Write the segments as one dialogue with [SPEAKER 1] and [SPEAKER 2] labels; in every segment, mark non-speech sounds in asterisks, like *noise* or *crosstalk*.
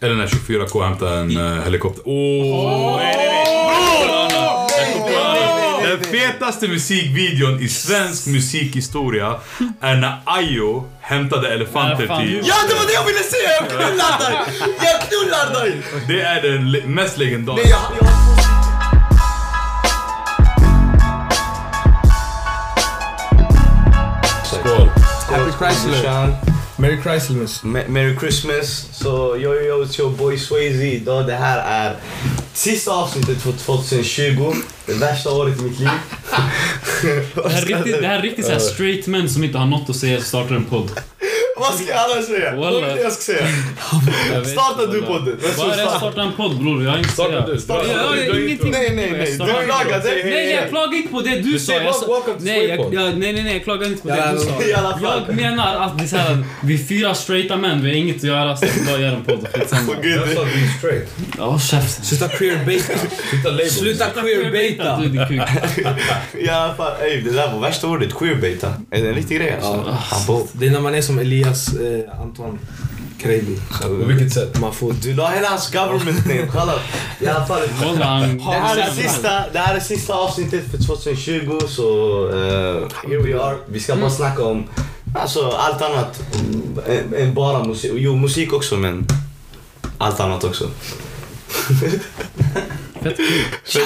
[SPEAKER 1] Eller när 24K hämtar en eh, helikopter. Åh!
[SPEAKER 2] Nej, nej, nej.
[SPEAKER 1] Den fetaste musikvideon i svensk musikhistoria är när Ayo hämtade elefanter
[SPEAKER 2] Nej, fan.
[SPEAKER 1] till...
[SPEAKER 3] Ja, det var det jag ville säga! Jag knullar dig! Jag knullar dig!
[SPEAKER 1] Det är den le- mest
[SPEAKER 3] Nej,
[SPEAKER 1] legendariska.
[SPEAKER 3] jag, jag...
[SPEAKER 1] Skål.
[SPEAKER 4] Happy Chrysler. Merry Chrysler.
[SPEAKER 3] Me- Merry Christmas. Så yo yo yo, it's your boy Swayze idag. Det här är sista avsnittet för 2020. Det värsta året i *laughs* mitt liv.
[SPEAKER 2] Det här är riktigt, det här är riktigt såhär straight men som inte har något att säga startar en podd.
[SPEAKER 3] Vad ska jag annars säga? Vad
[SPEAKER 2] Wallah.
[SPEAKER 3] vill jag ska säga?
[SPEAKER 2] Jag
[SPEAKER 3] *laughs*
[SPEAKER 2] vet
[SPEAKER 3] Starta
[SPEAKER 2] inte
[SPEAKER 3] du
[SPEAKER 2] vad det är.
[SPEAKER 3] podden. Jag tror
[SPEAKER 2] Bara jag
[SPEAKER 3] starta.
[SPEAKER 2] startar en podd bror, jag är inte
[SPEAKER 5] Starta
[SPEAKER 2] seriös.
[SPEAKER 5] du. Starta du.
[SPEAKER 2] Ja, jag har
[SPEAKER 5] Du drar
[SPEAKER 2] ingenting.
[SPEAKER 3] Nej, nej, nej.
[SPEAKER 2] Starta
[SPEAKER 3] Du klagar. Säg hej
[SPEAKER 2] Nej, jag
[SPEAKER 3] igen.
[SPEAKER 2] klagar inte på det du sa. Jag sa
[SPEAKER 5] Welcome to
[SPEAKER 2] nej, jag,
[SPEAKER 5] Sweden.
[SPEAKER 2] jag, nej, nej, nej, jag klagar inte på det
[SPEAKER 4] Ja,
[SPEAKER 2] du sa.
[SPEAKER 3] I alla fall.
[SPEAKER 2] Jag menar att det är såhär, vi är fyra straighta män, vi har inget att göra så vi bara gör en podd. Skitsamma.
[SPEAKER 3] Åh, gud.
[SPEAKER 5] Jag sa du är straight.
[SPEAKER 2] Ja, käften.
[SPEAKER 4] Sluta queerbaita.
[SPEAKER 5] Titta label.
[SPEAKER 4] Sluta
[SPEAKER 2] Du är
[SPEAKER 4] queerbaita.
[SPEAKER 2] din kuk.
[SPEAKER 3] I alla fall. Ey, det där var värsta ordet. Queerbaita. Är det en riktig grej alltså? Abo.
[SPEAKER 4] Det är när man är som Elias eh, Anton Kreiby.
[SPEAKER 5] På vilket sätt?
[SPEAKER 4] Man får...
[SPEAKER 3] Du la hela hans government name. Kolla. I alla fall.
[SPEAKER 2] Kolla, han-
[SPEAKER 3] Det här, är sista, det här är sista avsnittet för 2020 så eh, here we are. Vi ska bara snacka om alltså, allt annat än- än bara musik. Jo, musik också men allt annat också. *laughs*
[SPEAKER 2] Fett kul.
[SPEAKER 3] Så,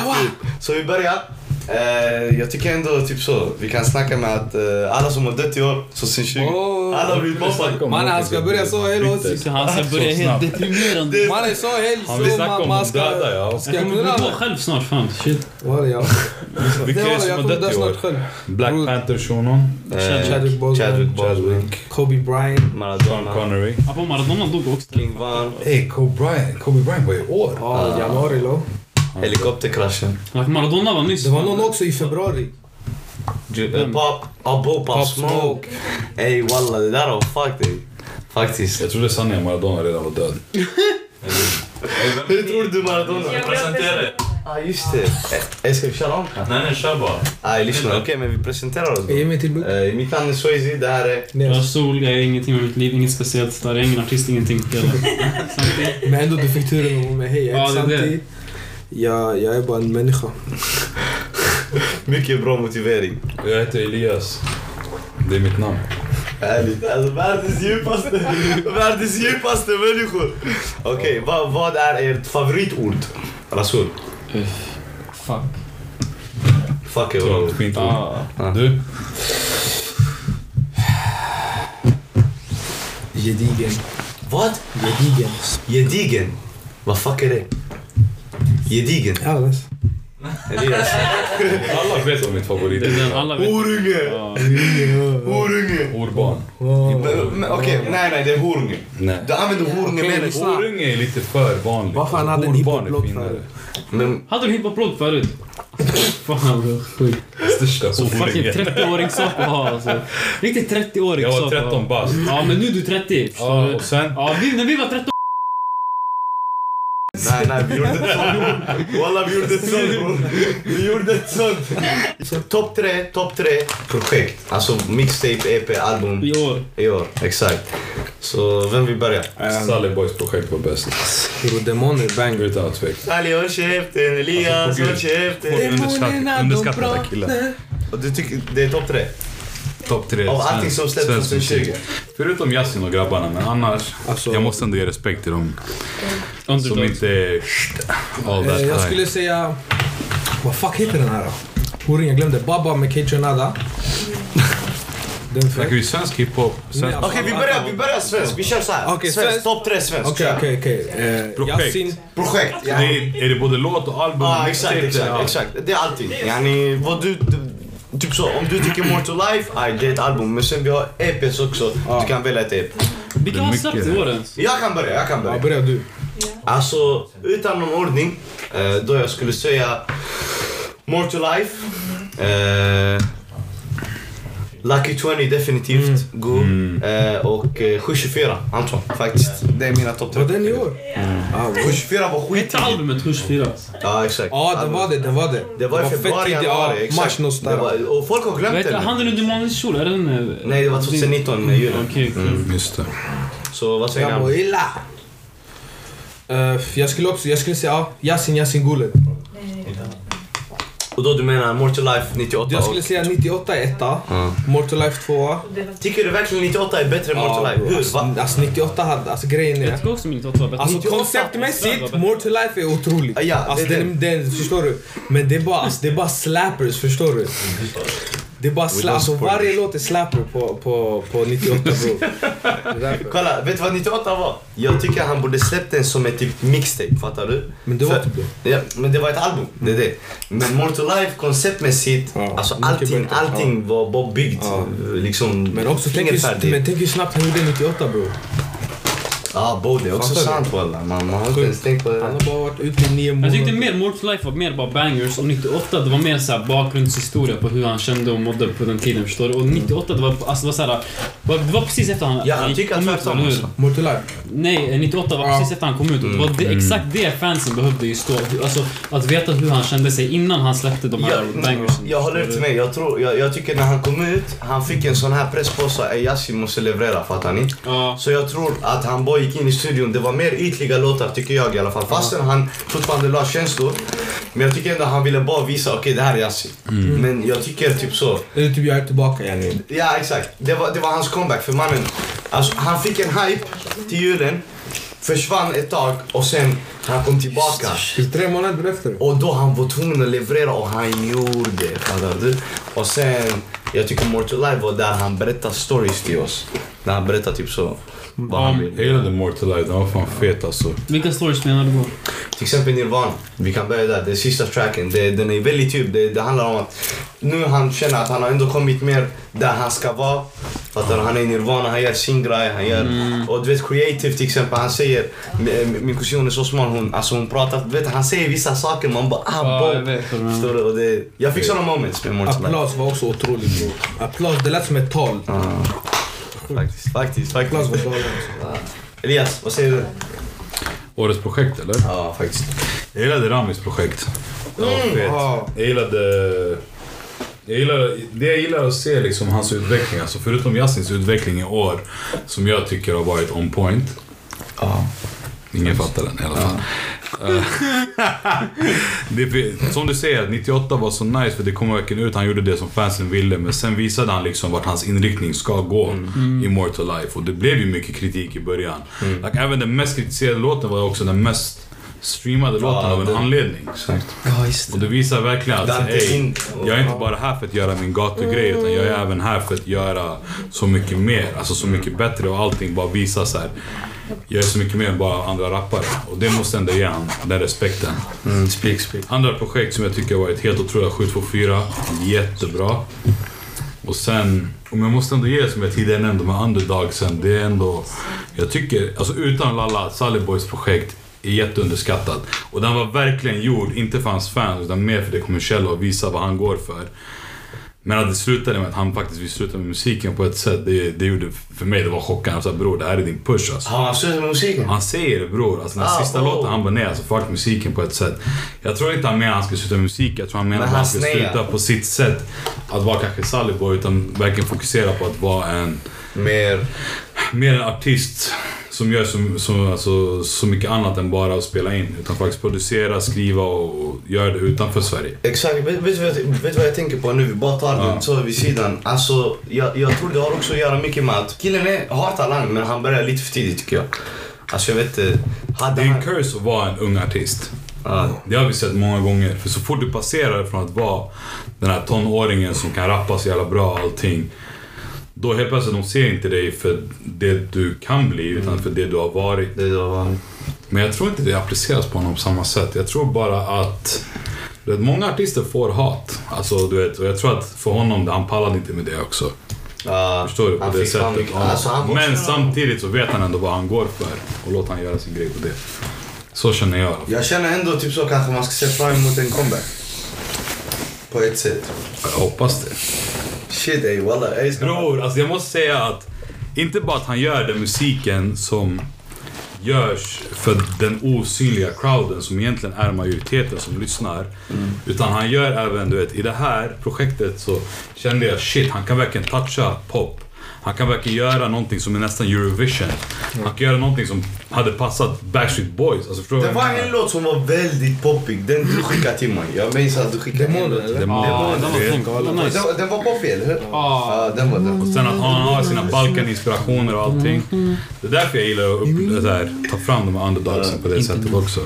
[SPEAKER 3] så vi börjar. Eh, jag tycker ändå typ så. Vi kan snacka med att eh, alla som har dött i år, 2020.
[SPEAKER 4] Åh.
[SPEAKER 3] Alla har blivit mobbade.
[SPEAKER 4] Mannen han ska börja så hela åsikt.
[SPEAKER 2] Så Han ska börja helt deprimerande.
[SPEAKER 4] Mannen sa helt
[SPEAKER 5] Han vill
[SPEAKER 4] så
[SPEAKER 5] snacka
[SPEAKER 4] man,
[SPEAKER 5] om
[SPEAKER 4] man
[SPEAKER 5] de
[SPEAKER 4] ska...
[SPEAKER 5] döda ja.
[SPEAKER 4] Ska
[SPEAKER 2] Jag
[SPEAKER 4] jag
[SPEAKER 2] kommer gå
[SPEAKER 4] knulla
[SPEAKER 2] på
[SPEAKER 4] dig?
[SPEAKER 2] själv snart fan. Shit.
[SPEAKER 4] Var det jag? Det
[SPEAKER 5] Vilka
[SPEAKER 4] var
[SPEAKER 5] är det
[SPEAKER 4] det,
[SPEAKER 5] som
[SPEAKER 4] jag
[SPEAKER 5] har
[SPEAKER 4] kommer
[SPEAKER 5] dött
[SPEAKER 4] dö
[SPEAKER 5] i
[SPEAKER 4] snart
[SPEAKER 5] år?
[SPEAKER 4] själv.
[SPEAKER 5] Black
[SPEAKER 4] Bror.
[SPEAKER 5] Panther shunon.
[SPEAKER 3] Eh,
[SPEAKER 4] Chadwick Boseman.
[SPEAKER 3] Chadwick Boseman.
[SPEAKER 4] Kobe Bryant.
[SPEAKER 5] Sean
[SPEAKER 3] Eh, Maradona.
[SPEAKER 5] Connery.
[SPEAKER 2] Abba Maradona dog också.
[SPEAKER 3] Lingvan.
[SPEAKER 5] Ey, Kobe Bryant. Kobe Bryant var i år.
[SPEAKER 4] Ja, januari då.
[SPEAKER 3] Helikopterkraschen.
[SPEAKER 2] Like Maradona var nyss.
[SPEAKER 4] Det var någon också i februari.
[SPEAKER 3] Ju- eh, Pop. Abo. Pop Smoke. Ey walla, det där var fuck dig. Faktiskt.
[SPEAKER 5] Jag trodde sanningen Maradona redan var *laughs* död.
[SPEAKER 3] Hur tror du Maradona?
[SPEAKER 1] Presentera dig.
[SPEAKER 3] Ja ah, just det. Ey ska vi köra om?
[SPEAKER 1] Nej, nej, kör bara.
[SPEAKER 3] Nej lyssna, okej men vi presenterar oss då.
[SPEAKER 4] Ge mig till Buck.
[SPEAKER 3] Eh, mitt namn är Swayze, det här är...
[SPEAKER 2] Jag har
[SPEAKER 4] Nej,
[SPEAKER 2] sol, jag är ingenting med mitt liv, inget speciellt. Där är ingen
[SPEAKER 5] *laughs*
[SPEAKER 2] artist, ingenting. Eller- Samtidigt.
[SPEAKER 4] Men ändå, du fick turen att vara med. Hej, jag
[SPEAKER 2] Ja,
[SPEAKER 4] heter
[SPEAKER 2] det är det.
[SPEAKER 4] Santi. Jag, jag är bara en människa.
[SPEAKER 3] Mycket bra motivering.
[SPEAKER 5] Jag heter Elias. Det är mitt namn.
[SPEAKER 3] Ärligt, alltså världens djupaste, världens djupaste människor. Okej, vad, vad är ert favoritord? Rasul.
[SPEAKER 2] Uff, Fuck.
[SPEAKER 3] Fuck it.
[SPEAKER 5] Så,
[SPEAKER 3] bro.
[SPEAKER 5] Fint ord.
[SPEAKER 2] Ja.
[SPEAKER 5] Du?
[SPEAKER 4] Gedigen.
[SPEAKER 3] Vad?
[SPEAKER 4] Gedigen.
[SPEAKER 3] Gedigen. Vad fuck är det? Gedigen. *laughs*
[SPEAKER 4] Ja, alltså.
[SPEAKER 3] Elias.
[SPEAKER 5] Alla vet vad mitt favorit
[SPEAKER 2] Det är den
[SPEAKER 5] är.
[SPEAKER 2] alla vet.
[SPEAKER 3] Horunge!
[SPEAKER 2] Ja.
[SPEAKER 3] Horunge!
[SPEAKER 5] Orban.
[SPEAKER 3] Men- men Okej, nej nej det är horunge.
[SPEAKER 5] Nej.
[SPEAKER 3] Du använder horunge
[SPEAKER 4] Okej,
[SPEAKER 3] mer än
[SPEAKER 4] lyssna.
[SPEAKER 5] Orunge är lite för vanligt.
[SPEAKER 4] Vad fan hade en
[SPEAKER 5] Orban är
[SPEAKER 4] hiphop-låt
[SPEAKER 5] finare.
[SPEAKER 4] förut?
[SPEAKER 3] Men
[SPEAKER 2] Hade du
[SPEAKER 5] *laughs*
[SPEAKER 2] hiphop-blogg förut? Fan bro, sjukt.
[SPEAKER 5] Största
[SPEAKER 2] Så fucking
[SPEAKER 5] orunge.
[SPEAKER 2] 30-åring sak att ha alltså. Riktigt 30-åring
[SPEAKER 5] Jag
[SPEAKER 2] sak
[SPEAKER 5] var
[SPEAKER 2] att ha.
[SPEAKER 5] 13 bast.
[SPEAKER 2] Ja men nu är du 30. förstår
[SPEAKER 5] Ja,
[SPEAKER 2] liksom. du?
[SPEAKER 5] och sen?
[SPEAKER 2] Ja, vi, när vi var 13
[SPEAKER 3] nej nej vi gjorde ett sånt. Walla vi gjorde ett sånt bror. Vi gjorde ett sånt. Topp tre, topp tre projekt. Alltså mixtape, EP, album
[SPEAKER 2] i år.
[SPEAKER 3] i år. Exakt. Så vem vill börja?
[SPEAKER 5] Sally Boys projekt var bäst.
[SPEAKER 4] Bro, demoner banger.
[SPEAKER 5] Utan tvekan.
[SPEAKER 3] Ali håll käften, Elias håll käften.
[SPEAKER 1] Underskattade killar.
[SPEAKER 3] Och Du tycker det är topp tre?
[SPEAKER 1] Topp tre
[SPEAKER 3] Av allting
[SPEAKER 1] svensk-
[SPEAKER 3] som släpps
[SPEAKER 1] svensk
[SPEAKER 3] 2020.
[SPEAKER 1] musik. Förutom Yasin och grabbarna, men annars.
[SPEAKER 4] Alltså-
[SPEAKER 1] jag måste ändå ge respekt till dem som
[SPEAKER 2] Underdogs.
[SPEAKER 1] inte är all that
[SPEAKER 4] Eh, Jag
[SPEAKER 1] high.
[SPEAKER 4] skulle säga... Vad fuck heter den här då? Horing, jag glömde. Baba med Kate Nada. Den
[SPEAKER 1] Snackar
[SPEAKER 4] fett.
[SPEAKER 1] vi svensk hiphop? Svensk...
[SPEAKER 4] Nej,
[SPEAKER 3] Okej vi börjar, vi börjar svenskt. Vi kör såhär.
[SPEAKER 4] Okej,
[SPEAKER 3] Svenskt,
[SPEAKER 4] svenskt.
[SPEAKER 3] topp tre svenskt.
[SPEAKER 4] Okej,
[SPEAKER 3] Kör.
[SPEAKER 4] okej, okej. Eh,
[SPEAKER 1] Projekt.
[SPEAKER 4] Yasin.
[SPEAKER 3] Projekt. ja.
[SPEAKER 1] Det är, är det både låt och album?
[SPEAKER 3] Ja,
[SPEAKER 1] och
[SPEAKER 3] Mm, exakt,
[SPEAKER 1] mixtape?
[SPEAKER 3] exakt,
[SPEAKER 1] Ja.
[SPEAKER 3] exakt. Det är alltid. Yani, vad du, du- typ så, om du tycker More to Life, aj, det är ett album. Men sen vi har EPs också. Du kan välja ett E EP.
[SPEAKER 2] Vilka har släppt i år ens?
[SPEAKER 3] Jag kan börja, jag kan
[SPEAKER 4] Ja,
[SPEAKER 3] börja.
[SPEAKER 4] börja du.
[SPEAKER 3] Alltså, utan någon ordning, eh, då jag skulle säga More to Life. Eh, Lucky 20
[SPEAKER 4] Mm.
[SPEAKER 3] definitivt, go. Eh, och eh, 724, Anton. Faktiskt, det är mina topp tre.
[SPEAKER 4] Var den i år?
[SPEAKER 3] Mm.
[SPEAKER 4] Ah, wow.
[SPEAKER 3] 724 var skit.
[SPEAKER 2] Hette albumet Hush 4?
[SPEAKER 3] Ja, exakt.
[SPEAKER 4] Ja, den var det. Den var det.
[SPEAKER 3] Det var i
[SPEAKER 4] fett
[SPEAKER 3] februari,
[SPEAKER 4] tidigt,
[SPEAKER 3] januari.
[SPEAKER 4] ja, Mars
[SPEAKER 3] Exakt. Det
[SPEAKER 4] någonstans där.
[SPEAKER 3] var- Och folk har glömt
[SPEAKER 2] Vet du,
[SPEAKER 3] det. nu.
[SPEAKER 2] handen under månens kjol, är den... eh,
[SPEAKER 3] Nej, Mm. det var
[SPEAKER 4] Mm.
[SPEAKER 3] 2019 i juli.
[SPEAKER 2] Okej, okej.
[SPEAKER 5] Just det.
[SPEAKER 3] Så vad säger
[SPEAKER 4] Jag mår
[SPEAKER 3] han?
[SPEAKER 4] illa. Eh, jag skulle också, jag skulle säga ja, Yasin Yasin Gulen.
[SPEAKER 3] Och då du menar Mortal Life 98?
[SPEAKER 4] Jag skulle säga 98 är etta,
[SPEAKER 3] Ja.
[SPEAKER 4] Mortal Life tvåa.
[SPEAKER 3] Tycker du verkligen 98 är bättre än Mortal
[SPEAKER 4] Ja,
[SPEAKER 3] Life?
[SPEAKER 4] bro,
[SPEAKER 3] Hur? Va?
[SPEAKER 4] Alltså, alltså 98 hade, alltså grejen
[SPEAKER 2] Jag
[SPEAKER 4] är...
[SPEAKER 2] tycker också min 98 var bättre.
[SPEAKER 4] Alltså
[SPEAKER 2] 98
[SPEAKER 4] konceptmässigt,
[SPEAKER 2] var
[SPEAKER 4] More to Life är otroligt.
[SPEAKER 3] Ja, det
[SPEAKER 4] alltså,
[SPEAKER 3] är
[SPEAKER 4] den, den, förstår du? Men det är bara, alltså, det är bara slappers, förstår du? Det är bara
[SPEAKER 3] don't
[SPEAKER 4] sla, alltså,
[SPEAKER 3] support
[SPEAKER 4] varje låt är slapper på, på, på 98 bro. Det är därför.
[SPEAKER 3] Kolla, vet du vad 98 var? Jag tycker han borde släppt den som ett typ mixtape, fattar du?
[SPEAKER 4] Men det var
[SPEAKER 3] För-
[SPEAKER 4] typ det.
[SPEAKER 3] Ja, men det var ett album, det är det. Men Mortal Life konceptmässigt,
[SPEAKER 4] Ja,
[SPEAKER 3] alltså
[SPEAKER 4] mycket
[SPEAKER 3] allting,
[SPEAKER 4] bättre,
[SPEAKER 3] allting var bara byggt.
[SPEAKER 4] Ja.
[SPEAKER 3] Liksom,
[SPEAKER 4] Men också tänk
[SPEAKER 3] inget
[SPEAKER 4] hur, men tänk hur snabbt han gjorde 98 bro.
[SPEAKER 3] Ja, ah, både. Också
[SPEAKER 4] Fattar du?
[SPEAKER 3] sant walla. Man, man har inte ens tänkt på det.
[SPEAKER 4] Han
[SPEAKER 3] där.
[SPEAKER 4] har bara varit ute i nio
[SPEAKER 2] Jag
[SPEAKER 4] månader.
[SPEAKER 2] tyckte mer Mortal Life var mer bara bangers och 98 det var mer så här bakgrundshistoria på hur han kände och mådde på den tiden förstår du? Och 98 det var, alltså, det var så här, det var precis efter han
[SPEAKER 3] Ja, jag
[SPEAKER 2] gick-
[SPEAKER 3] tycker
[SPEAKER 2] kom
[SPEAKER 3] att
[SPEAKER 2] ut,
[SPEAKER 3] tvärtom
[SPEAKER 2] eller hur?
[SPEAKER 3] också.
[SPEAKER 4] More to Life.
[SPEAKER 2] Nej, 98 var precis efter han kom ut och det var det, exakt det fansen behövde just då. Alltså att veta hur han kände sig innan han släppte de här
[SPEAKER 3] Jag,
[SPEAKER 2] bangersen.
[SPEAKER 3] jag håller inte med. Jag, tror, jag, jag tycker när han kom ut, han fick en sån här press på sig. "Ey, Yasin måste leverera, fattar ni?
[SPEAKER 2] Ja.
[SPEAKER 3] Så jag tror att han bara gick in i studion. Det var mer ytliga låtar tycker jag i alla fall. Fastän han fortfarande la känslor. Men jag tycker ändå han ville bara visa, okej det här är Yasin. Men jag tycker typ så.
[SPEAKER 4] Eller typ jag är tillbaka yani.
[SPEAKER 3] Ja exakt. Det var, det var hans comeback för mannen. Alltså, han fick en hype till julen. Försvann ett tag och sen han kom tillbaka.
[SPEAKER 4] Typ tre månader efter.
[SPEAKER 3] Och då han var tvungen att leverera och han gjorde det. fattar du? Och sen, jag tycker Mortal Life var där han berättar stories till oss. När han berättar typ så. Vad han vill.
[SPEAKER 5] Jag gillade Mortal Life, den var fan fet alltså.
[SPEAKER 2] Vilka stories menar du då?
[SPEAKER 3] Till exempel Nirvana. Vi kan börja där. Det är sista tracken. Det, den är väldigt djup. Det, det handlar om att nu han känner att han har ändå kommit mer där han ska vara. Fattar du? Han är i Nirvana, han gör sin grej. Han gör,
[SPEAKER 2] Mm.
[SPEAKER 3] Och du vet Creative till exempel. Han säger, "M- min kusin är så smal. Hon, alltså hon pratar, du vet han säger vissa saker. Man bara ah, bo.
[SPEAKER 2] vet vad du
[SPEAKER 3] Förstår du? Och det, jag fick såna moments med Mortal Life.
[SPEAKER 4] Applaus var också otroligt bro. Applaus, det lät som ett tal.
[SPEAKER 3] Ja. Faktiskt, faktiskt,
[SPEAKER 4] Applaus var
[SPEAKER 3] faktiskt.
[SPEAKER 4] galen.
[SPEAKER 3] Elias, vad säger du?
[SPEAKER 5] Årets projekt eller?
[SPEAKER 3] Ja, faktiskt.
[SPEAKER 5] Jag gillade Ramis projekt.
[SPEAKER 3] Det var fett.
[SPEAKER 4] Ja.
[SPEAKER 5] Jag gillade... Jag gillar, det jag gillar att se liksom hans utveckling, alltså förutom Yassins utveckling i år som jag tycker har varit on point. Ingen fattar den i alla fall. Eh, det, är- som du säger, 98 var så nice för det kom verkligen ut. Han gjorde det som fansen ville men sen visade han liksom vart hans inriktning ska gå i Mortal Life. Och det blev ju mycket kritik i början. Like, även den mest kritiserade låten var också den mest streamade låten av en
[SPEAKER 3] det-
[SPEAKER 5] anledning. Och det visar verkligen att
[SPEAKER 3] Dante
[SPEAKER 5] ey,
[SPEAKER 3] in-
[SPEAKER 5] jag är inte bara här för att göra min gatugrej utan jag är även här för att göra så mycket mer. Alltså så mycket bättre och allting bara visar så här. Jag är så mycket mer än bara andra rappare. Och det måste ändå ge han den respekten.
[SPEAKER 3] Mm, speak, speak.
[SPEAKER 5] Andra projekt som jag tycker har varit helt otroliga, 724. Jättebra. Och sen, om jag måste ändå ge som jag tidigare nämnde med underdogsen, det är ändå... Jag tycker, alltså utan Lalla, Sally Boys projekt är jätteunderskattat. Och den var verkligen gjord, inte för hans fans, utan mer för det kommersiella och visa vad han går för. Men att det slutade med att han faktiskt vill sluta med musiken på ett sätt, det, det gjorde för mig, det var chockande. Jag sa bror, det här är din push alltså.
[SPEAKER 3] Har han slutat med musiken?
[SPEAKER 5] Han säger det bror. Alltså den här
[SPEAKER 3] Ah,
[SPEAKER 5] sista
[SPEAKER 3] oh.
[SPEAKER 5] låten, han bara nej alltså fuck musiken på ett sätt. Jag tror inte han menar att han ska sluta med musik. Jag tror han menar
[SPEAKER 3] Men
[SPEAKER 5] att han
[SPEAKER 3] han
[SPEAKER 5] ska
[SPEAKER 3] snear.
[SPEAKER 5] sluta på sitt sätt. Att vara kanske Saliboy utan verkligen fokusera på att vara en,
[SPEAKER 3] Mer...
[SPEAKER 5] mer en artist. Som gör så, så, alltså, så mycket annat än bara att spela in. Utan faktiskt producera, skriva och, och göra det utanför Sverige.
[SPEAKER 3] Exakt, vet, vet, vet, vet vad jag tänker på nu? Vi bara tar den så vid sidan. Alltså, jag, jag tror det har också att göra mycket med att killen är, har talang men han börjar lite för tidigt tycker jag. Alltså jag vet inte.
[SPEAKER 5] Det
[SPEAKER 3] Hade
[SPEAKER 5] är en
[SPEAKER 3] han...
[SPEAKER 5] curse att vara en ung artist.
[SPEAKER 3] Ja,
[SPEAKER 5] Det har vi sett många gånger. För så fort du passerar från att vara den här tonåringen som kan rappa så jävla bra och allting. Då helt plötsligt de ser inte dig för det du kan bli
[SPEAKER 3] Mm.
[SPEAKER 5] utan för det du har varit.
[SPEAKER 3] det var...
[SPEAKER 5] Men jag tror inte det appliceras på honom på samma sätt. Jag tror bara att du vet, många artister får hat. Alltså, du vet, och jag tror att för honom, han pallade inte med det också.
[SPEAKER 3] Ja,
[SPEAKER 5] Förstår du? På
[SPEAKER 3] han
[SPEAKER 5] det
[SPEAKER 3] fick fan
[SPEAKER 5] sättet.
[SPEAKER 3] mycket-
[SPEAKER 5] Ja.
[SPEAKER 3] Alltså, han var-
[SPEAKER 5] Men samtidigt så vet han ändå vad han går för. Och låt han göra sin grej på det. Så känner jag i alla fall.
[SPEAKER 3] Jag känner ändå typ så kanske man ska se fram emot en comeback. På ett sätt.
[SPEAKER 5] Jag hoppas det.
[SPEAKER 3] Shit ey walla. Ey, ska-
[SPEAKER 5] Bror, alltså jag måste säga att inte bara att han gör den musiken som görs för den osynliga crowden som egentligen är majoriteten som lyssnar. Utan han gör även, du vet, i det här projektet så kände jag shit, han kan verkligen toucha pop. Han kan verkligen göra någonting som är nästan Eurovision. Han kan göra någonting som hade passat Backstreet Boys. Alltså, förstår du
[SPEAKER 3] Det
[SPEAKER 5] vad jag
[SPEAKER 3] var
[SPEAKER 5] menar?
[SPEAKER 3] en låt som var väldigt poppig. Den du skickade till mig. Jag minns att du skickade en
[SPEAKER 4] Demonen,
[SPEAKER 3] låt.
[SPEAKER 4] eller?
[SPEAKER 5] Demonen.
[SPEAKER 2] Ja, den var tänkt. Den var nice.
[SPEAKER 3] Den, den var poppig, eller hur?
[SPEAKER 2] Ja.
[SPEAKER 3] Ja, den var den.
[SPEAKER 5] Och sen att han har sina Balkan-inspirationer och allting. Det är därför jag gillar att upp, så här, ta fram de här underdogsen på det sättet också.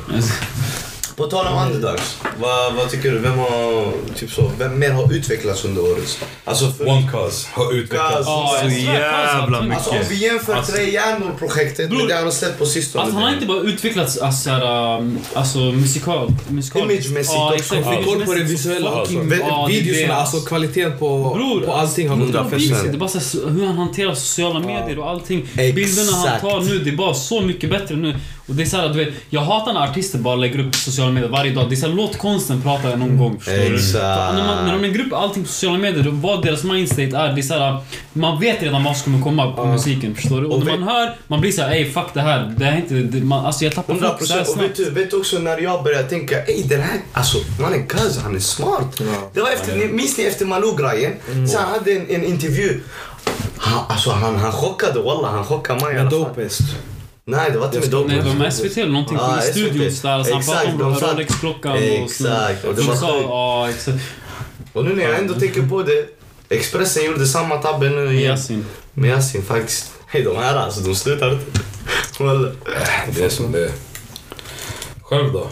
[SPEAKER 3] På tal om underdogs. Vad, vad tycker du? Vem har, typ så, vem mer har utvecklats under året? Alltså, för,
[SPEAKER 5] One Cause har utvecklats
[SPEAKER 2] Ja,
[SPEAKER 5] så
[SPEAKER 2] jag svär,
[SPEAKER 5] jävla
[SPEAKER 2] Cause har-
[SPEAKER 5] mycket.
[SPEAKER 3] alltså om vi jämför
[SPEAKER 5] Alltså-
[SPEAKER 3] Tre Hjärnor-projektet med
[SPEAKER 2] Bror.
[SPEAKER 3] det han har släppt på sistone.
[SPEAKER 2] Alltså han har inte bara utvecklats alltså, så här, um, alltså musikal, musikal.
[SPEAKER 3] Imagemässigt
[SPEAKER 2] ja,
[SPEAKER 3] också.
[SPEAKER 2] exakt.
[SPEAKER 4] Alltså, Vi har koll på det
[SPEAKER 2] Imagemässigt som
[SPEAKER 4] visuella
[SPEAKER 2] fan.
[SPEAKER 4] och
[SPEAKER 3] Ve-
[SPEAKER 2] Ja, det är
[SPEAKER 4] videorna,
[SPEAKER 2] det.
[SPEAKER 4] alltså kvaliteten på,
[SPEAKER 2] Bror,
[SPEAKER 4] på allting har gått
[SPEAKER 2] Det
[SPEAKER 4] upp.
[SPEAKER 2] är bara vis-
[SPEAKER 3] 100%.
[SPEAKER 2] det är bara så här, hur han hanterar sociala medier och allting.
[SPEAKER 3] Exakt.
[SPEAKER 2] Bilderna han tar nu, det är bara så mycket bättre nu. Och det är så här, du vet, jag hatar när artister bara lägger upp sociala medier varje dag. Det är så här, låt konsten prata
[SPEAKER 3] Mm.
[SPEAKER 2] någon gång. Förstår du?
[SPEAKER 3] Exakt.
[SPEAKER 2] För När, man, när de lägger upp allting på sociala medier, då vad deras mindset är, det är så här, man vet redan vad som kommer komma på musiken. Förstår du? Och,
[SPEAKER 3] Och
[SPEAKER 2] när
[SPEAKER 3] vi-
[SPEAKER 2] man hör, man blir så här, ey fuck det här. Det här är inte, det, man, alltså jag tappar
[SPEAKER 3] 100
[SPEAKER 2] fokus så här
[SPEAKER 3] procent. Och vet
[SPEAKER 2] snabbt.
[SPEAKER 3] du, vet du också när jag började tänka, ey den här, alltså mannen Kaz han är smart. Det var efter, ni- minns ni efter Malou-grejen?
[SPEAKER 2] Mm.
[SPEAKER 3] Så han hade en, en intervju. Han, alltså han, han chockade, wallah han chockade mig i alla
[SPEAKER 4] Men
[SPEAKER 3] fall.
[SPEAKER 4] dopest.
[SPEAKER 3] Nej det var inte med dope.
[SPEAKER 2] Nej, det var med SVT eller någonting.
[SPEAKER 3] Ja,
[SPEAKER 2] Ah,
[SPEAKER 3] SVT.
[SPEAKER 2] studion där. Så han pratade om
[SPEAKER 3] Exakt, de satt-
[SPEAKER 2] Rolex-klockan och
[SPEAKER 3] Exakt, och det var
[SPEAKER 2] så.
[SPEAKER 3] sjukt.
[SPEAKER 2] Ja, exakt.
[SPEAKER 3] Och nu när jag ändå tänker på det. Expressen gjorde samma tabbe nu igen.
[SPEAKER 2] Yasin.
[SPEAKER 3] Med Yasin faktiskt. Hej de här alltså, de slutar inte. Wallah.
[SPEAKER 5] Det är som det är. Själv då?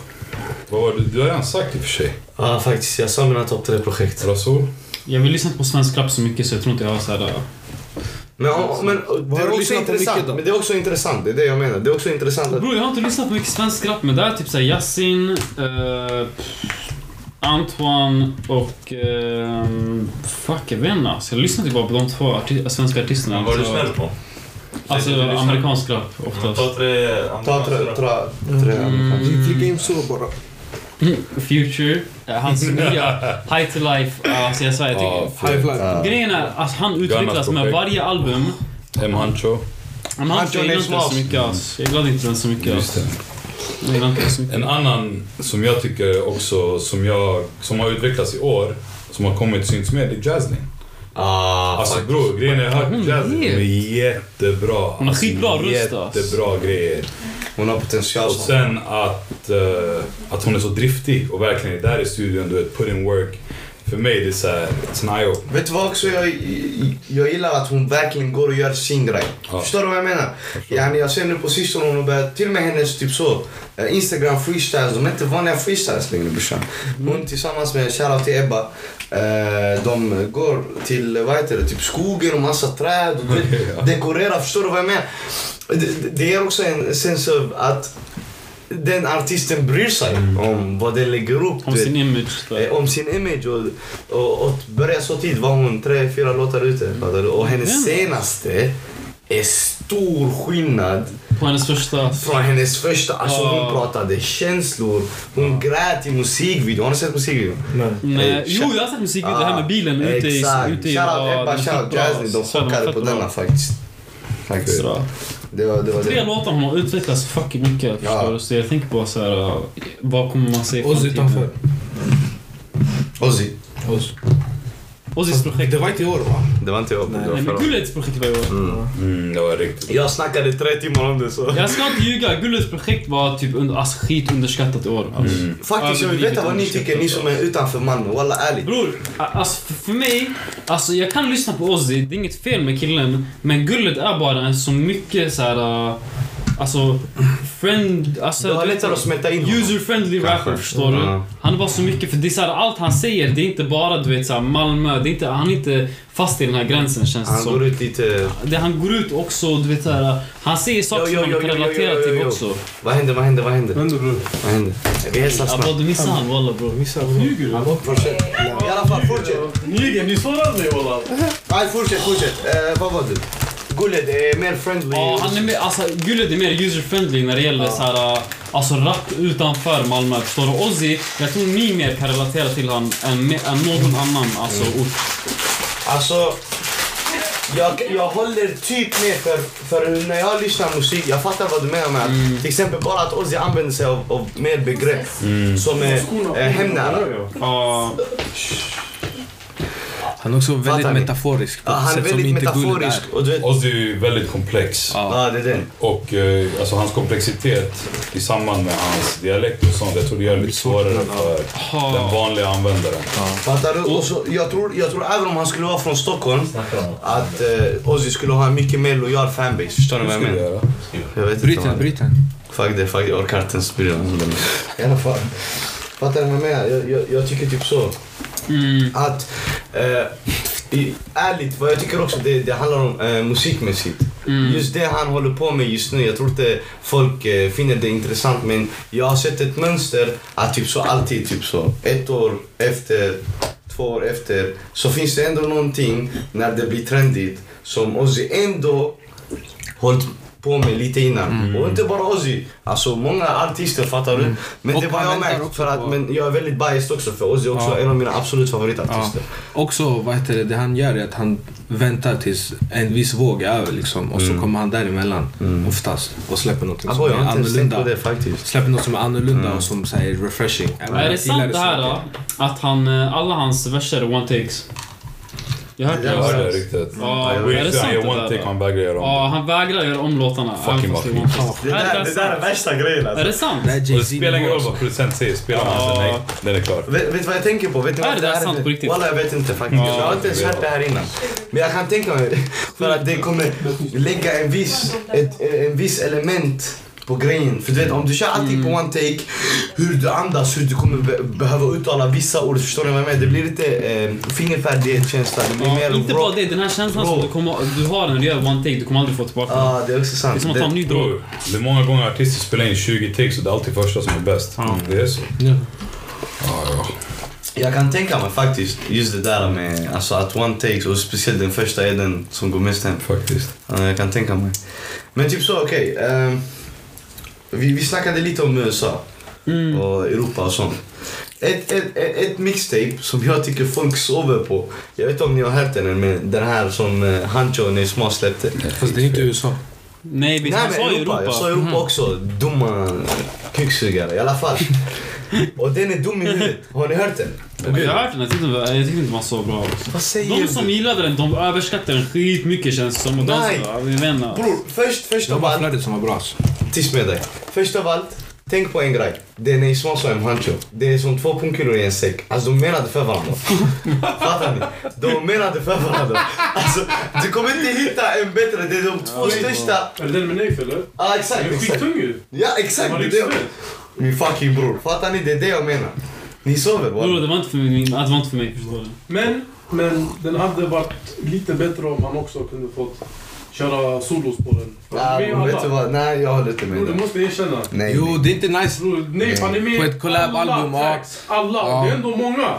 [SPEAKER 5] Vad var det? Du har redan sagt i och för sig.
[SPEAKER 3] Ja faktiskt, jag sa mina topp tre projekt.
[SPEAKER 5] Rasool?
[SPEAKER 2] Jag vill lyssna på svensk rap så mycket så äh. jag tror inte jag har såhär...
[SPEAKER 3] Men, ja, men det
[SPEAKER 4] du
[SPEAKER 3] är också
[SPEAKER 4] lyssnat på mycket
[SPEAKER 3] intressant.
[SPEAKER 4] då?
[SPEAKER 3] Men det är också intressant, det är det jag menar. Det är också intressant att
[SPEAKER 2] Bror jag har inte lyssnat på mycket svensk rap men det är typ såhär Yasin, eh, Antoine och... eh, fuck jag vet inte alltså. Jag lyssnar typ bara på de två arti- svenska artisterna.
[SPEAKER 6] Vad
[SPEAKER 2] Alltså,
[SPEAKER 6] lyssnar du på?
[SPEAKER 2] Alltså
[SPEAKER 6] Du lyssnar-
[SPEAKER 2] amerikansk rap oftast.
[SPEAKER 6] Ta tre
[SPEAKER 3] Ta
[SPEAKER 6] amerikanska
[SPEAKER 3] tre,
[SPEAKER 6] rap.
[SPEAKER 3] tre, tre.
[SPEAKER 4] Vi flika in så bara.
[SPEAKER 2] Future, eh,
[SPEAKER 6] *laughs*
[SPEAKER 2] hans nya High to Life, eh, alltså jag svär jag
[SPEAKER 5] Ja,
[SPEAKER 2] tycker...
[SPEAKER 4] High fly.
[SPEAKER 2] Grejen är att han utvecklas med
[SPEAKER 5] projekt.
[SPEAKER 2] varje album.
[SPEAKER 5] M. Hancho?
[SPEAKER 2] Men han jag gillar inte den så mycket alltså. Jag gillar inte den så mycket
[SPEAKER 5] Just
[SPEAKER 2] alltså.
[SPEAKER 5] det.
[SPEAKER 2] Jag gillar inte den så mycket.
[SPEAKER 5] En annan som jag tycker också, som, jag, som har utvecklats i år, som har kommit syns med, det är Jasmine.
[SPEAKER 3] Ah,
[SPEAKER 5] Alltså
[SPEAKER 3] fuck.
[SPEAKER 5] bror, grejen är jag har
[SPEAKER 2] Hon
[SPEAKER 5] hört Jasmine. Hon är jättebra.
[SPEAKER 2] Hon har skitbra
[SPEAKER 5] Alltså,
[SPEAKER 2] röst, alltså.
[SPEAKER 5] Jättebra grejer.
[SPEAKER 3] Hon har potential.
[SPEAKER 5] Och sen att, eh, att hon är så driftig och verkligen är där i studion, du vet, put in work. För mig det är såhär, it's an eye opener.
[SPEAKER 3] Vet du vad också jag, jag gillar? Att hon verkligen går och gör sin grej.
[SPEAKER 5] Ja.
[SPEAKER 3] Förstår du vad jag menar? Jag, jag ser nu på sistone hon har börjat, till och med hennes typ så, eh, Instagram freestyles, de är inte vanliga freestyles längre brorsan. Hon tillsammans med shoutout till Ebba, eh, de går till, vad heter det, typ skogen och massa träd och du vet, dekorerar, förstår du vad jag menar? Det, det- det ger också en sense av att den artisten bryr sig om vad den lägger upp. du
[SPEAKER 2] Om
[SPEAKER 3] vet.
[SPEAKER 2] sin image. där.
[SPEAKER 3] Eh, om sin image och, och, och att börja så tidigt var hon tre, fyra låtar ute. fattar du? Och hennes
[SPEAKER 2] Mm.
[SPEAKER 3] senaste är stor skillnad
[SPEAKER 2] På hennes första...
[SPEAKER 3] från hennes första. Alltså
[SPEAKER 2] Ja.
[SPEAKER 3] hon pratade känslor, hon grät i musikvideon. Har ni sett musikvideon?
[SPEAKER 2] Nej,
[SPEAKER 3] Eh,
[SPEAKER 2] jo, jag har sett musikvideo det här med bilen ute i...
[SPEAKER 3] Ah, Exakt.
[SPEAKER 2] Ute i
[SPEAKER 3] Shoutout
[SPEAKER 2] ja,
[SPEAKER 3] Ebba,
[SPEAKER 2] den är
[SPEAKER 3] shoutout
[SPEAKER 2] skitbra,
[SPEAKER 3] Jasmine. De
[SPEAKER 2] alltså.
[SPEAKER 3] chockade
[SPEAKER 2] Fett
[SPEAKER 3] på
[SPEAKER 2] bra.
[SPEAKER 3] denna faktiskt. Faktiskt.
[SPEAKER 2] Bra.
[SPEAKER 3] Det var det. Var
[SPEAKER 2] Tre
[SPEAKER 3] det.
[SPEAKER 2] låtar hon har utvecklats fucking mycket.
[SPEAKER 3] Ja.
[SPEAKER 2] Förstår du? Så jag tänker bara så här, uh, vad kommer man se i
[SPEAKER 4] Oss utanför.
[SPEAKER 3] Ozzy.
[SPEAKER 4] Oss.
[SPEAKER 2] Ozzys projekt.
[SPEAKER 4] Det var inte i år va?
[SPEAKER 3] Det var inte jag. det var
[SPEAKER 2] Nej, men
[SPEAKER 3] förra.
[SPEAKER 2] Gullets projekt var i år.
[SPEAKER 5] Mm, det var riktigt.
[SPEAKER 3] Jag snackade tre timmar om det så.
[SPEAKER 2] Jag ska inte ljuga, Gullets projekt var typ under, alltså, skit underskattat i år. Alltså.
[SPEAKER 3] Faktiskt jag vill veta vad ni tycker, ni som är utanför mannen. Walla ärligt.
[SPEAKER 2] Bror, a- alltså för, för mig, alltså jag kan lyssna på Ozzy, det är inget fel med killen, men Gullet är bara en så mycket så här. uh, alltså friend, alltså
[SPEAKER 3] Det var
[SPEAKER 2] du vet-
[SPEAKER 3] lättare att smälta in honom.
[SPEAKER 2] User-friendly
[SPEAKER 3] Kanske.
[SPEAKER 2] rapper, förstår du?
[SPEAKER 3] Ja.
[SPEAKER 2] Han var så mycket, för det är så här, allt han säger, det är inte bara du vet så här, Malmö, det är inte, han är inte fast i den här gränsen känns det
[SPEAKER 3] Han går
[SPEAKER 2] som.
[SPEAKER 3] ut lite...
[SPEAKER 2] Det, han går ut också, du vet så här, han säger saker
[SPEAKER 3] Jo, jo,
[SPEAKER 2] som
[SPEAKER 3] jo,
[SPEAKER 2] man kan
[SPEAKER 3] jo, jo,
[SPEAKER 2] relatera
[SPEAKER 3] jo, jo,
[SPEAKER 2] till
[SPEAKER 3] jo.
[SPEAKER 2] också.
[SPEAKER 3] Vad händer, vad händer, vad händer?
[SPEAKER 4] Ändå bror.
[SPEAKER 3] Vad händer? Vi hälsar
[SPEAKER 2] Ja,
[SPEAKER 3] snart.
[SPEAKER 2] vad du missar han walla bror.
[SPEAKER 4] Missar bror. Ljuger du?
[SPEAKER 3] Fortsätt. I alla fall, fortsätt.
[SPEAKER 6] Nygren, du svarar aldrig walla.
[SPEAKER 3] Nej, fortsätt, fortsätt. Eh, vad var du? Gullet är mer friendly.
[SPEAKER 2] Ja, han är mer, alltså Gullet är mer user-friendly när det gäller så här, alltså rap utanför Malmö. Förstår du? Ozzy, jag tror ni mer kan relatera till han än, me- än någon annan alltså
[SPEAKER 3] Mm.
[SPEAKER 2] ort.
[SPEAKER 3] Alltså... Jag, jag håller typ med för, för när jag lyssnar musik, jag fattar vad du menar med att till exempel bara att Ozzy använder sig av, av mer begrepp som är eh, hemnära.
[SPEAKER 2] Ja,
[SPEAKER 7] Han är också väldigt
[SPEAKER 3] Fattar ni?
[SPEAKER 7] metaforisk på
[SPEAKER 3] Ja,
[SPEAKER 7] ett
[SPEAKER 3] han är
[SPEAKER 7] sätt som
[SPEAKER 3] väldigt
[SPEAKER 7] inte guld
[SPEAKER 3] metaforisk
[SPEAKER 7] är.
[SPEAKER 3] och du vet...
[SPEAKER 5] Ozzy är ju väldigt komplex.
[SPEAKER 3] Ja, det är det.
[SPEAKER 5] Och eh, alltså, hans komplexitet i samband med hans dialekt och sånt, jag tror det gör det lite svårare för den vanliga användaren.
[SPEAKER 3] Fattar du? Och så, jag, tror, jag tror även om han skulle vara från Stockholm att eh, Ozzy skulle ha en mycket mer lojal fanbase. Förstår ni vad jag
[SPEAKER 5] Skulle
[SPEAKER 3] menar?
[SPEAKER 5] göra.
[SPEAKER 3] Jag vet
[SPEAKER 7] Bryt
[SPEAKER 3] inte.
[SPEAKER 7] den,
[SPEAKER 3] man.
[SPEAKER 7] bryt den.
[SPEAKER 3] Fuck det, fuck det. Jag orkar inte ens bry mig. I alla fall. Fattar du vad jag menar? Jag, jag, jag tycker typ så.
[SPEAKER 2] Mm.
[SPEAKER 3] Att... Eh, i, ärligt, vad jag tycker också det, det handlar om eh, musikmässigt.
[SPEAKER 7] Mm.
[SPEAKER 3] Just det han håller på med just nu. Jag tror inte folk eh, finner det intressant men jag har sett ett mönster att typ så alltid typ så. Ett år efter, två år efter så finns det ändå någonting när det blir trendigt som Ozzy ändå hållit på med lite innan.
[SPEAKER 7] Mm.
[SPEAKER 3] Och inte bara Ozzy. Alltså många artister fattar du. Men
[SPEAKER 7] Och
[SPEAKER 3] det var jag
[SPEAKER 7] han väntar
[SPEAKER 3] märkt
[SPEAKER 7] också
[SPEAKER 3] för att
[SPEAKER 7] på-
[SPEAKER 3] men jag är väldigt biased också för Ozzy är också en av mina absolut favoritartister.
[SPEAKER 7] Också, vad heter det, det han gör är att han väntar tills en viss våg är över liksom. Och så kommer han däremellan oftast och släpper något som
[SPEAKER 3] Abow, jag
[SPEAKER 7] är
[SPEAKER 3] har inte ens tänkt på det
[SPEAKER 7] annorlunda.
[SPEAKER 3] faktiskt.
[SPEAKER 7] Släpper något som är annorlunda och som så här, är refreshing. Även om
[SPEAKER 2] Är
[SPEAKER 7] jag
[SPEAKER 2] det
[SPEAKER 7] gillar
[SPEAKER 2] sant det här
[SPEAKER 7] så
[SPEAKER 2] då? Att han, eh, alla hans verser är one takes? Jag har hört
[SPEAKER 3] Det där
[SPEAKER 5] Jag
[SPEAKER 2] det.
[SPEAKER 5] hörde det riktigt.
[SPEAKER 2] Ja,
[SPEAKER 5] Jag
[SPEAKER 2] är det
[SPEAKER 5] vet
[SPEAKER 2] sant
[SPEAKER 5] inte,
[SPEAKER 2] det
[SPEAKER 5] jag one
[SPEAKER 2] där
[SPEAKER 5] take,
[SPEAKER 2] då?
[SPEAKER 5] man vägrar göra om.
[SPEAKER 2] Ja, han vägrar göra om låtarna.
[SPEAKER 5] Fucking
[SPEAKER 2] även fast det är
[SPEAKER 5] vad
[SPEAKER 2] one takes.
[SPEAKER 3] Det
[SPEAKER 2] Är det
[SPEAKER 3] där, det där
[SPEAKER 2] sant?
[SPEAKER 3] är värsta grejen
[SPEAKER 2] Är
[SPEAKER 3] alltså.
[SPEAKER 2] det sant?
[SPEAKER 7] Det här är
[SPEAKER 5] Och det spelar ingen
[SPEAKER 7] Jay-Z-nivå.
[SPEAKER 5] roll vad producent säger, spelar man sen nej, den är klar.
[SPEAKER 3] Vet, vet du vad jag tänker på? Vet ni
[SPEAKER 2] Är
[SPEAKER 3] vad
[SPEAKER 2] det där sant på riktigt?
[SPEAKER 3] Walla, jag vet inte faktiskt.
[SPEAKER 5] Ja,
[SPEAKER 3] jag har inte ens
[SPEAKER 5] jag vet.
[SPEAKER 3] hört det här innan. Men jag kan tänka mig, för att det kommer lägga en viss, ett, en viss element på grejen. För du vet, om du kör allting
[SPEAKER 2] Mm.
[SPEAKER 3] på one take, hur du andas, hur du kommer be- behöva uttala vissa ord. Förstår ni vad jag menar? Det blir lite eh, fingerfärdighetskänsla. Det blir
[SPEAKER 2] Ja,
[SPEAKER 3] mer
[SPEAKER 2] inte
[SPEAKER 3] rock.
[SPEAKER 2] bara det, den här känslan som
[SPEAKER 3] Bro.
[SPEAKER 2] du, kommer, du har när du gör one take, du kommer aldrig få tillbaka
[SPEAKER 3] Ja,
[SPEAKER 2] den.
[SPEAKER 3] det är också
[SPEAKER 2] Det är
[SPEAKER 3] sant.
[SPEAKER 2] som att ta en ny drog.
[SPEAKER 5] Bror, det är många gånger artister spelar in 20 takes och det är alltid första som är bäst. Det är så.
[SPEAKER 3] Jag kan tänka mig faktiskt just det där med alltså, att one takes och speciellt den första är den som går mest hem.
[SPEAKER 5] Faktiskt.
[SPEAKER 3] Ja, jag kan tänka mig. Men typ så, okej. ehm, vi, vi snackade lite om USA
[SPEAKER 7] Mm.
[SPEAKER 3] och Europa och sånt. Ett, ett, ett, ett mixtape som jag tycker folk sover på. Jag vet inte om ni har hört den, men den här som eh, Hancho och Small släppte.
[SPEAKER 7] Fast det är inte USA.
[SPEAKER 2] Nej, vi
[SPEAKER 3] Nej,
[SPEAKER 2] sa
[SPEAKER 3] men
[SPEAKER 2] ju Europa. Mm.
[SPEAKER 3] Jag sa Europa också. Dumma kuksugare i alla
[SPEAKER 2] *laughs*
[SPEAKER 3] fall. och den är dum i huvudet. Har ni hört den?
[SPEAKER 2] Jag har hört den, jag tyckte, den var- jag tyckte inte den var så bra. också.
[SPEAKER 3] Vad säger
[SPEAKER 2] De som gillade den, de överskattade den skitmycket känns det som. Och de
[SPEAKER 3] Nej.
[SPEAKER 2] som, ja, vi menar.
[SPEAKER 3] Bror, först, först
[SPEAKER 7] Det
[SPEAKER 3] av
[SPEAKER 7] var
[SPEAKER 3] allt.
[SPEAKER 7] flödet som var bra alltså.
[SPEAKER 3] Tyst med dig. Först av allt, tänk på en grej. Den är smal som en hancho. Det är som två pungkulor i en säck. Alltså de menade för varandra. *laughs* Fattar ni? De menade för varandra. Alltså, du kommer inte hitta en bättre. Det är de två största...
[SPEAKER 6] Är det den med nejf eller?
[SPEAKER 3] Ja, exakt.
[SPEAKER 6] Den är
[SPEAKER 3] exakt.
[SPEAKER 6] skittung ju.
[SPEAKER 3] Ja, exakt.
[SPEAKER 6] Den var
[SPEAKER 3] Det är det.
[SPEAKER 6] livsfett.
[SPEAKER 3] Min fucking bror. Fattar ni? Det är det jag menar. Ni sover
[SPEAKER 2] Bror,
[SPEAKER 3] va?
[SPEAKER 2] det var inte för mig, det var inte för mig förstår du.
[SPEAKER 6] Men, men den hade varit lite bättre om han också kunde fått köra solos på den. För han är med
[SPEAKER 3] Ja,
[SPEAKER 6] alla.
[SPEAKER 3] vet du vad? Nej, jag Mm. håller inte
[SPEAKER 6] Bror,
[SPEAKER 3] med.
[SPEAKER 6] du
[SPEAKER 3] dig.
[SPEAKER 6] måste erkänna.
[SPEAKER 3] Nej.
[SPEAKER 7] Jo, det är inte nice.
[SPEAKER 6] Bror, nej, han är med
[SPEAKER 7] På ett collab-album,
[SPEAKER 6] alla
[SPEAKER 7] ja.
[SPEAKER 6] tracks. Alla. Det är ändå många.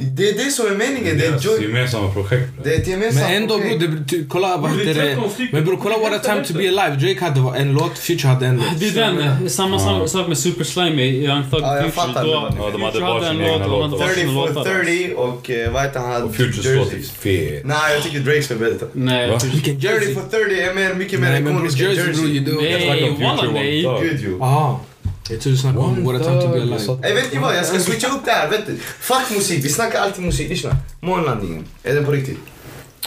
[SPEAKER 3] Det är det som är meningen. Det är,
[SPEAKER 5] Deras
[SPEAKER 3] joy-
[SPEAKER 5] gemensamma projekt.
[SPEAKER 3] det är ett gemensamt
[SPEAKER 7] Men ändå
[SPEAKER 3] projekt.
[SPEAKER 7] bror, det, ty, kolla vad
[SPEAKER 6] Det är
[SPEAKER 7] heter det?
[SPEAKER 6] 13 stycken.
[SPEAKER 7] Men bror kolla What a time to be alive. Drake hade en låt, Future hade en låt.
[SPEAKER 3] Ah,
[SPEAKER 2] Det är den, samma sak- sak med Super Slime i Young Thug
[SPEAKER 3] Ja, jag
[SPEAKER 2] Future.
[SPEAKER 3] fattar
[SPEAKER 2] Då-
[SPEAKER 3] det.
[SPEAKER 5] Ja, de hade
[SPEAKER 2] Future
[SPEAKER 5] var sin
[SPEAKER 2] en
[SPEAKER 5] egna
[SPEAKER 2] låt och de
[SPEAKER 5] låt.
[SPEAKER 2] hade
[SPEAKER 3] 30
[SPEAKER 2] varsin
[SPEAKER 3] for
[SPEAKER 2] låtar.
[SPEAKER 3] 30 och eh, vad heter han? hade?
[SPEAKER 5] Och Futures låt är
[SPEAKER 3] Jerseys.
[SPEAKER 5] fet.
[SPEAKER 3] Nej, jag tycker Drakes är bättre.
[SPEAKER 2] Nej,
[SPEAKER 5] Va?
[SPEAKER 2] Future-
[SPEAKER 7] Vilken
[SPEAKER 3] Jersey
[SPEAKER 7] jersey.
[SPEAKER 3] for 30 är mer, mycket mer
[SPEAKER 7] Nej men bror
[SPEAKER 3] ikonisk än
[SPEAKER 7] jersey bror.
[SPEAKER 3] Jersey.
[SPEAKER 7] you do-
[SPEAKER 5] snackar
[SPEAKER 2] nej,
[SPEAKER 5] om Future
[SPEAKER 2] walla
[SPEAKER 5] One
[SPEAKER 2] nej.
[SPEAKER 5] Thug.
[SPEAKER 3] Gud ju.
[SPEAKER 7] Aha. Jag trodde du snackade om What a time to be alive.
[SPEAKER 3] Ey, vet ni vad? Jag ska switcha upp det här. Vet du? Fuck musik, vi snackar alltid musik. Lyssna. Månlandningen, är den på riktigt?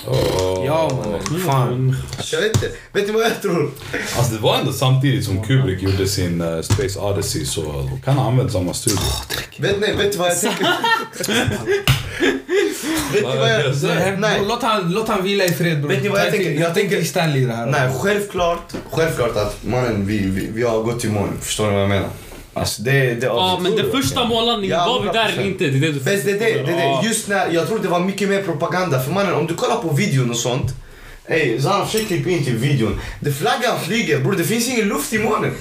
[SPEAKER 5] Åh.
[SPEAKER 7] Ja mannen,
[SPEAKER 3] Mm.
[SPEAKER 7] fan.
[SPEAKER 3] Jag vet inte. Vet ni vad jag tror?
[SPEAKER 5] Alltså det var ändå samtidigt som Kubrick gjorde sin eh, Space Odyssey så de kan ha använt samma studio.
[SPEAKER 3] Vet ni vet ni vad
[SPEAKER 5] *laughs*
[SPEAKER 3] jag tänker? vet ni vad jag...
[SPEAKER 7] Nej,
[SPEAKER 3] Nej.
[SPEAKER 7] Låt, han, låt han vila i fred bror.
[SPEAKER 3] Vet ni vad jag
[SPEAKER 7] Ta inte-
[SPEAKER 3] tänker? Jag
[SPEAKER 7] ta inte
[SPEAKER 3] tänker-
[SPEAKER 7] Stanley i det här.
[SPEAKER 3] Nej, självklart. Självklart att mannen, vi, vi, vi har gått i mål. Förstår ni vad jag menar? Alltså det... det
[SPEAKER 2] Ja, men den första månlandningen,
[SPEAKER 3] Ja,
[SPEAKER 2] var vi där eller
[SPEAKER 3] 100%.
[SPEAKER 2] inte? Det är det du
[SPEAKER 3] Fast det är det, det, är det. Just när, jag tror det var mycket mer propaganda. För mannen, om du kollar på videon och sånt. Ey, Zan, försök klippa in till videon. Det flaggan flyger, bror. Det finns ingen luft i månen.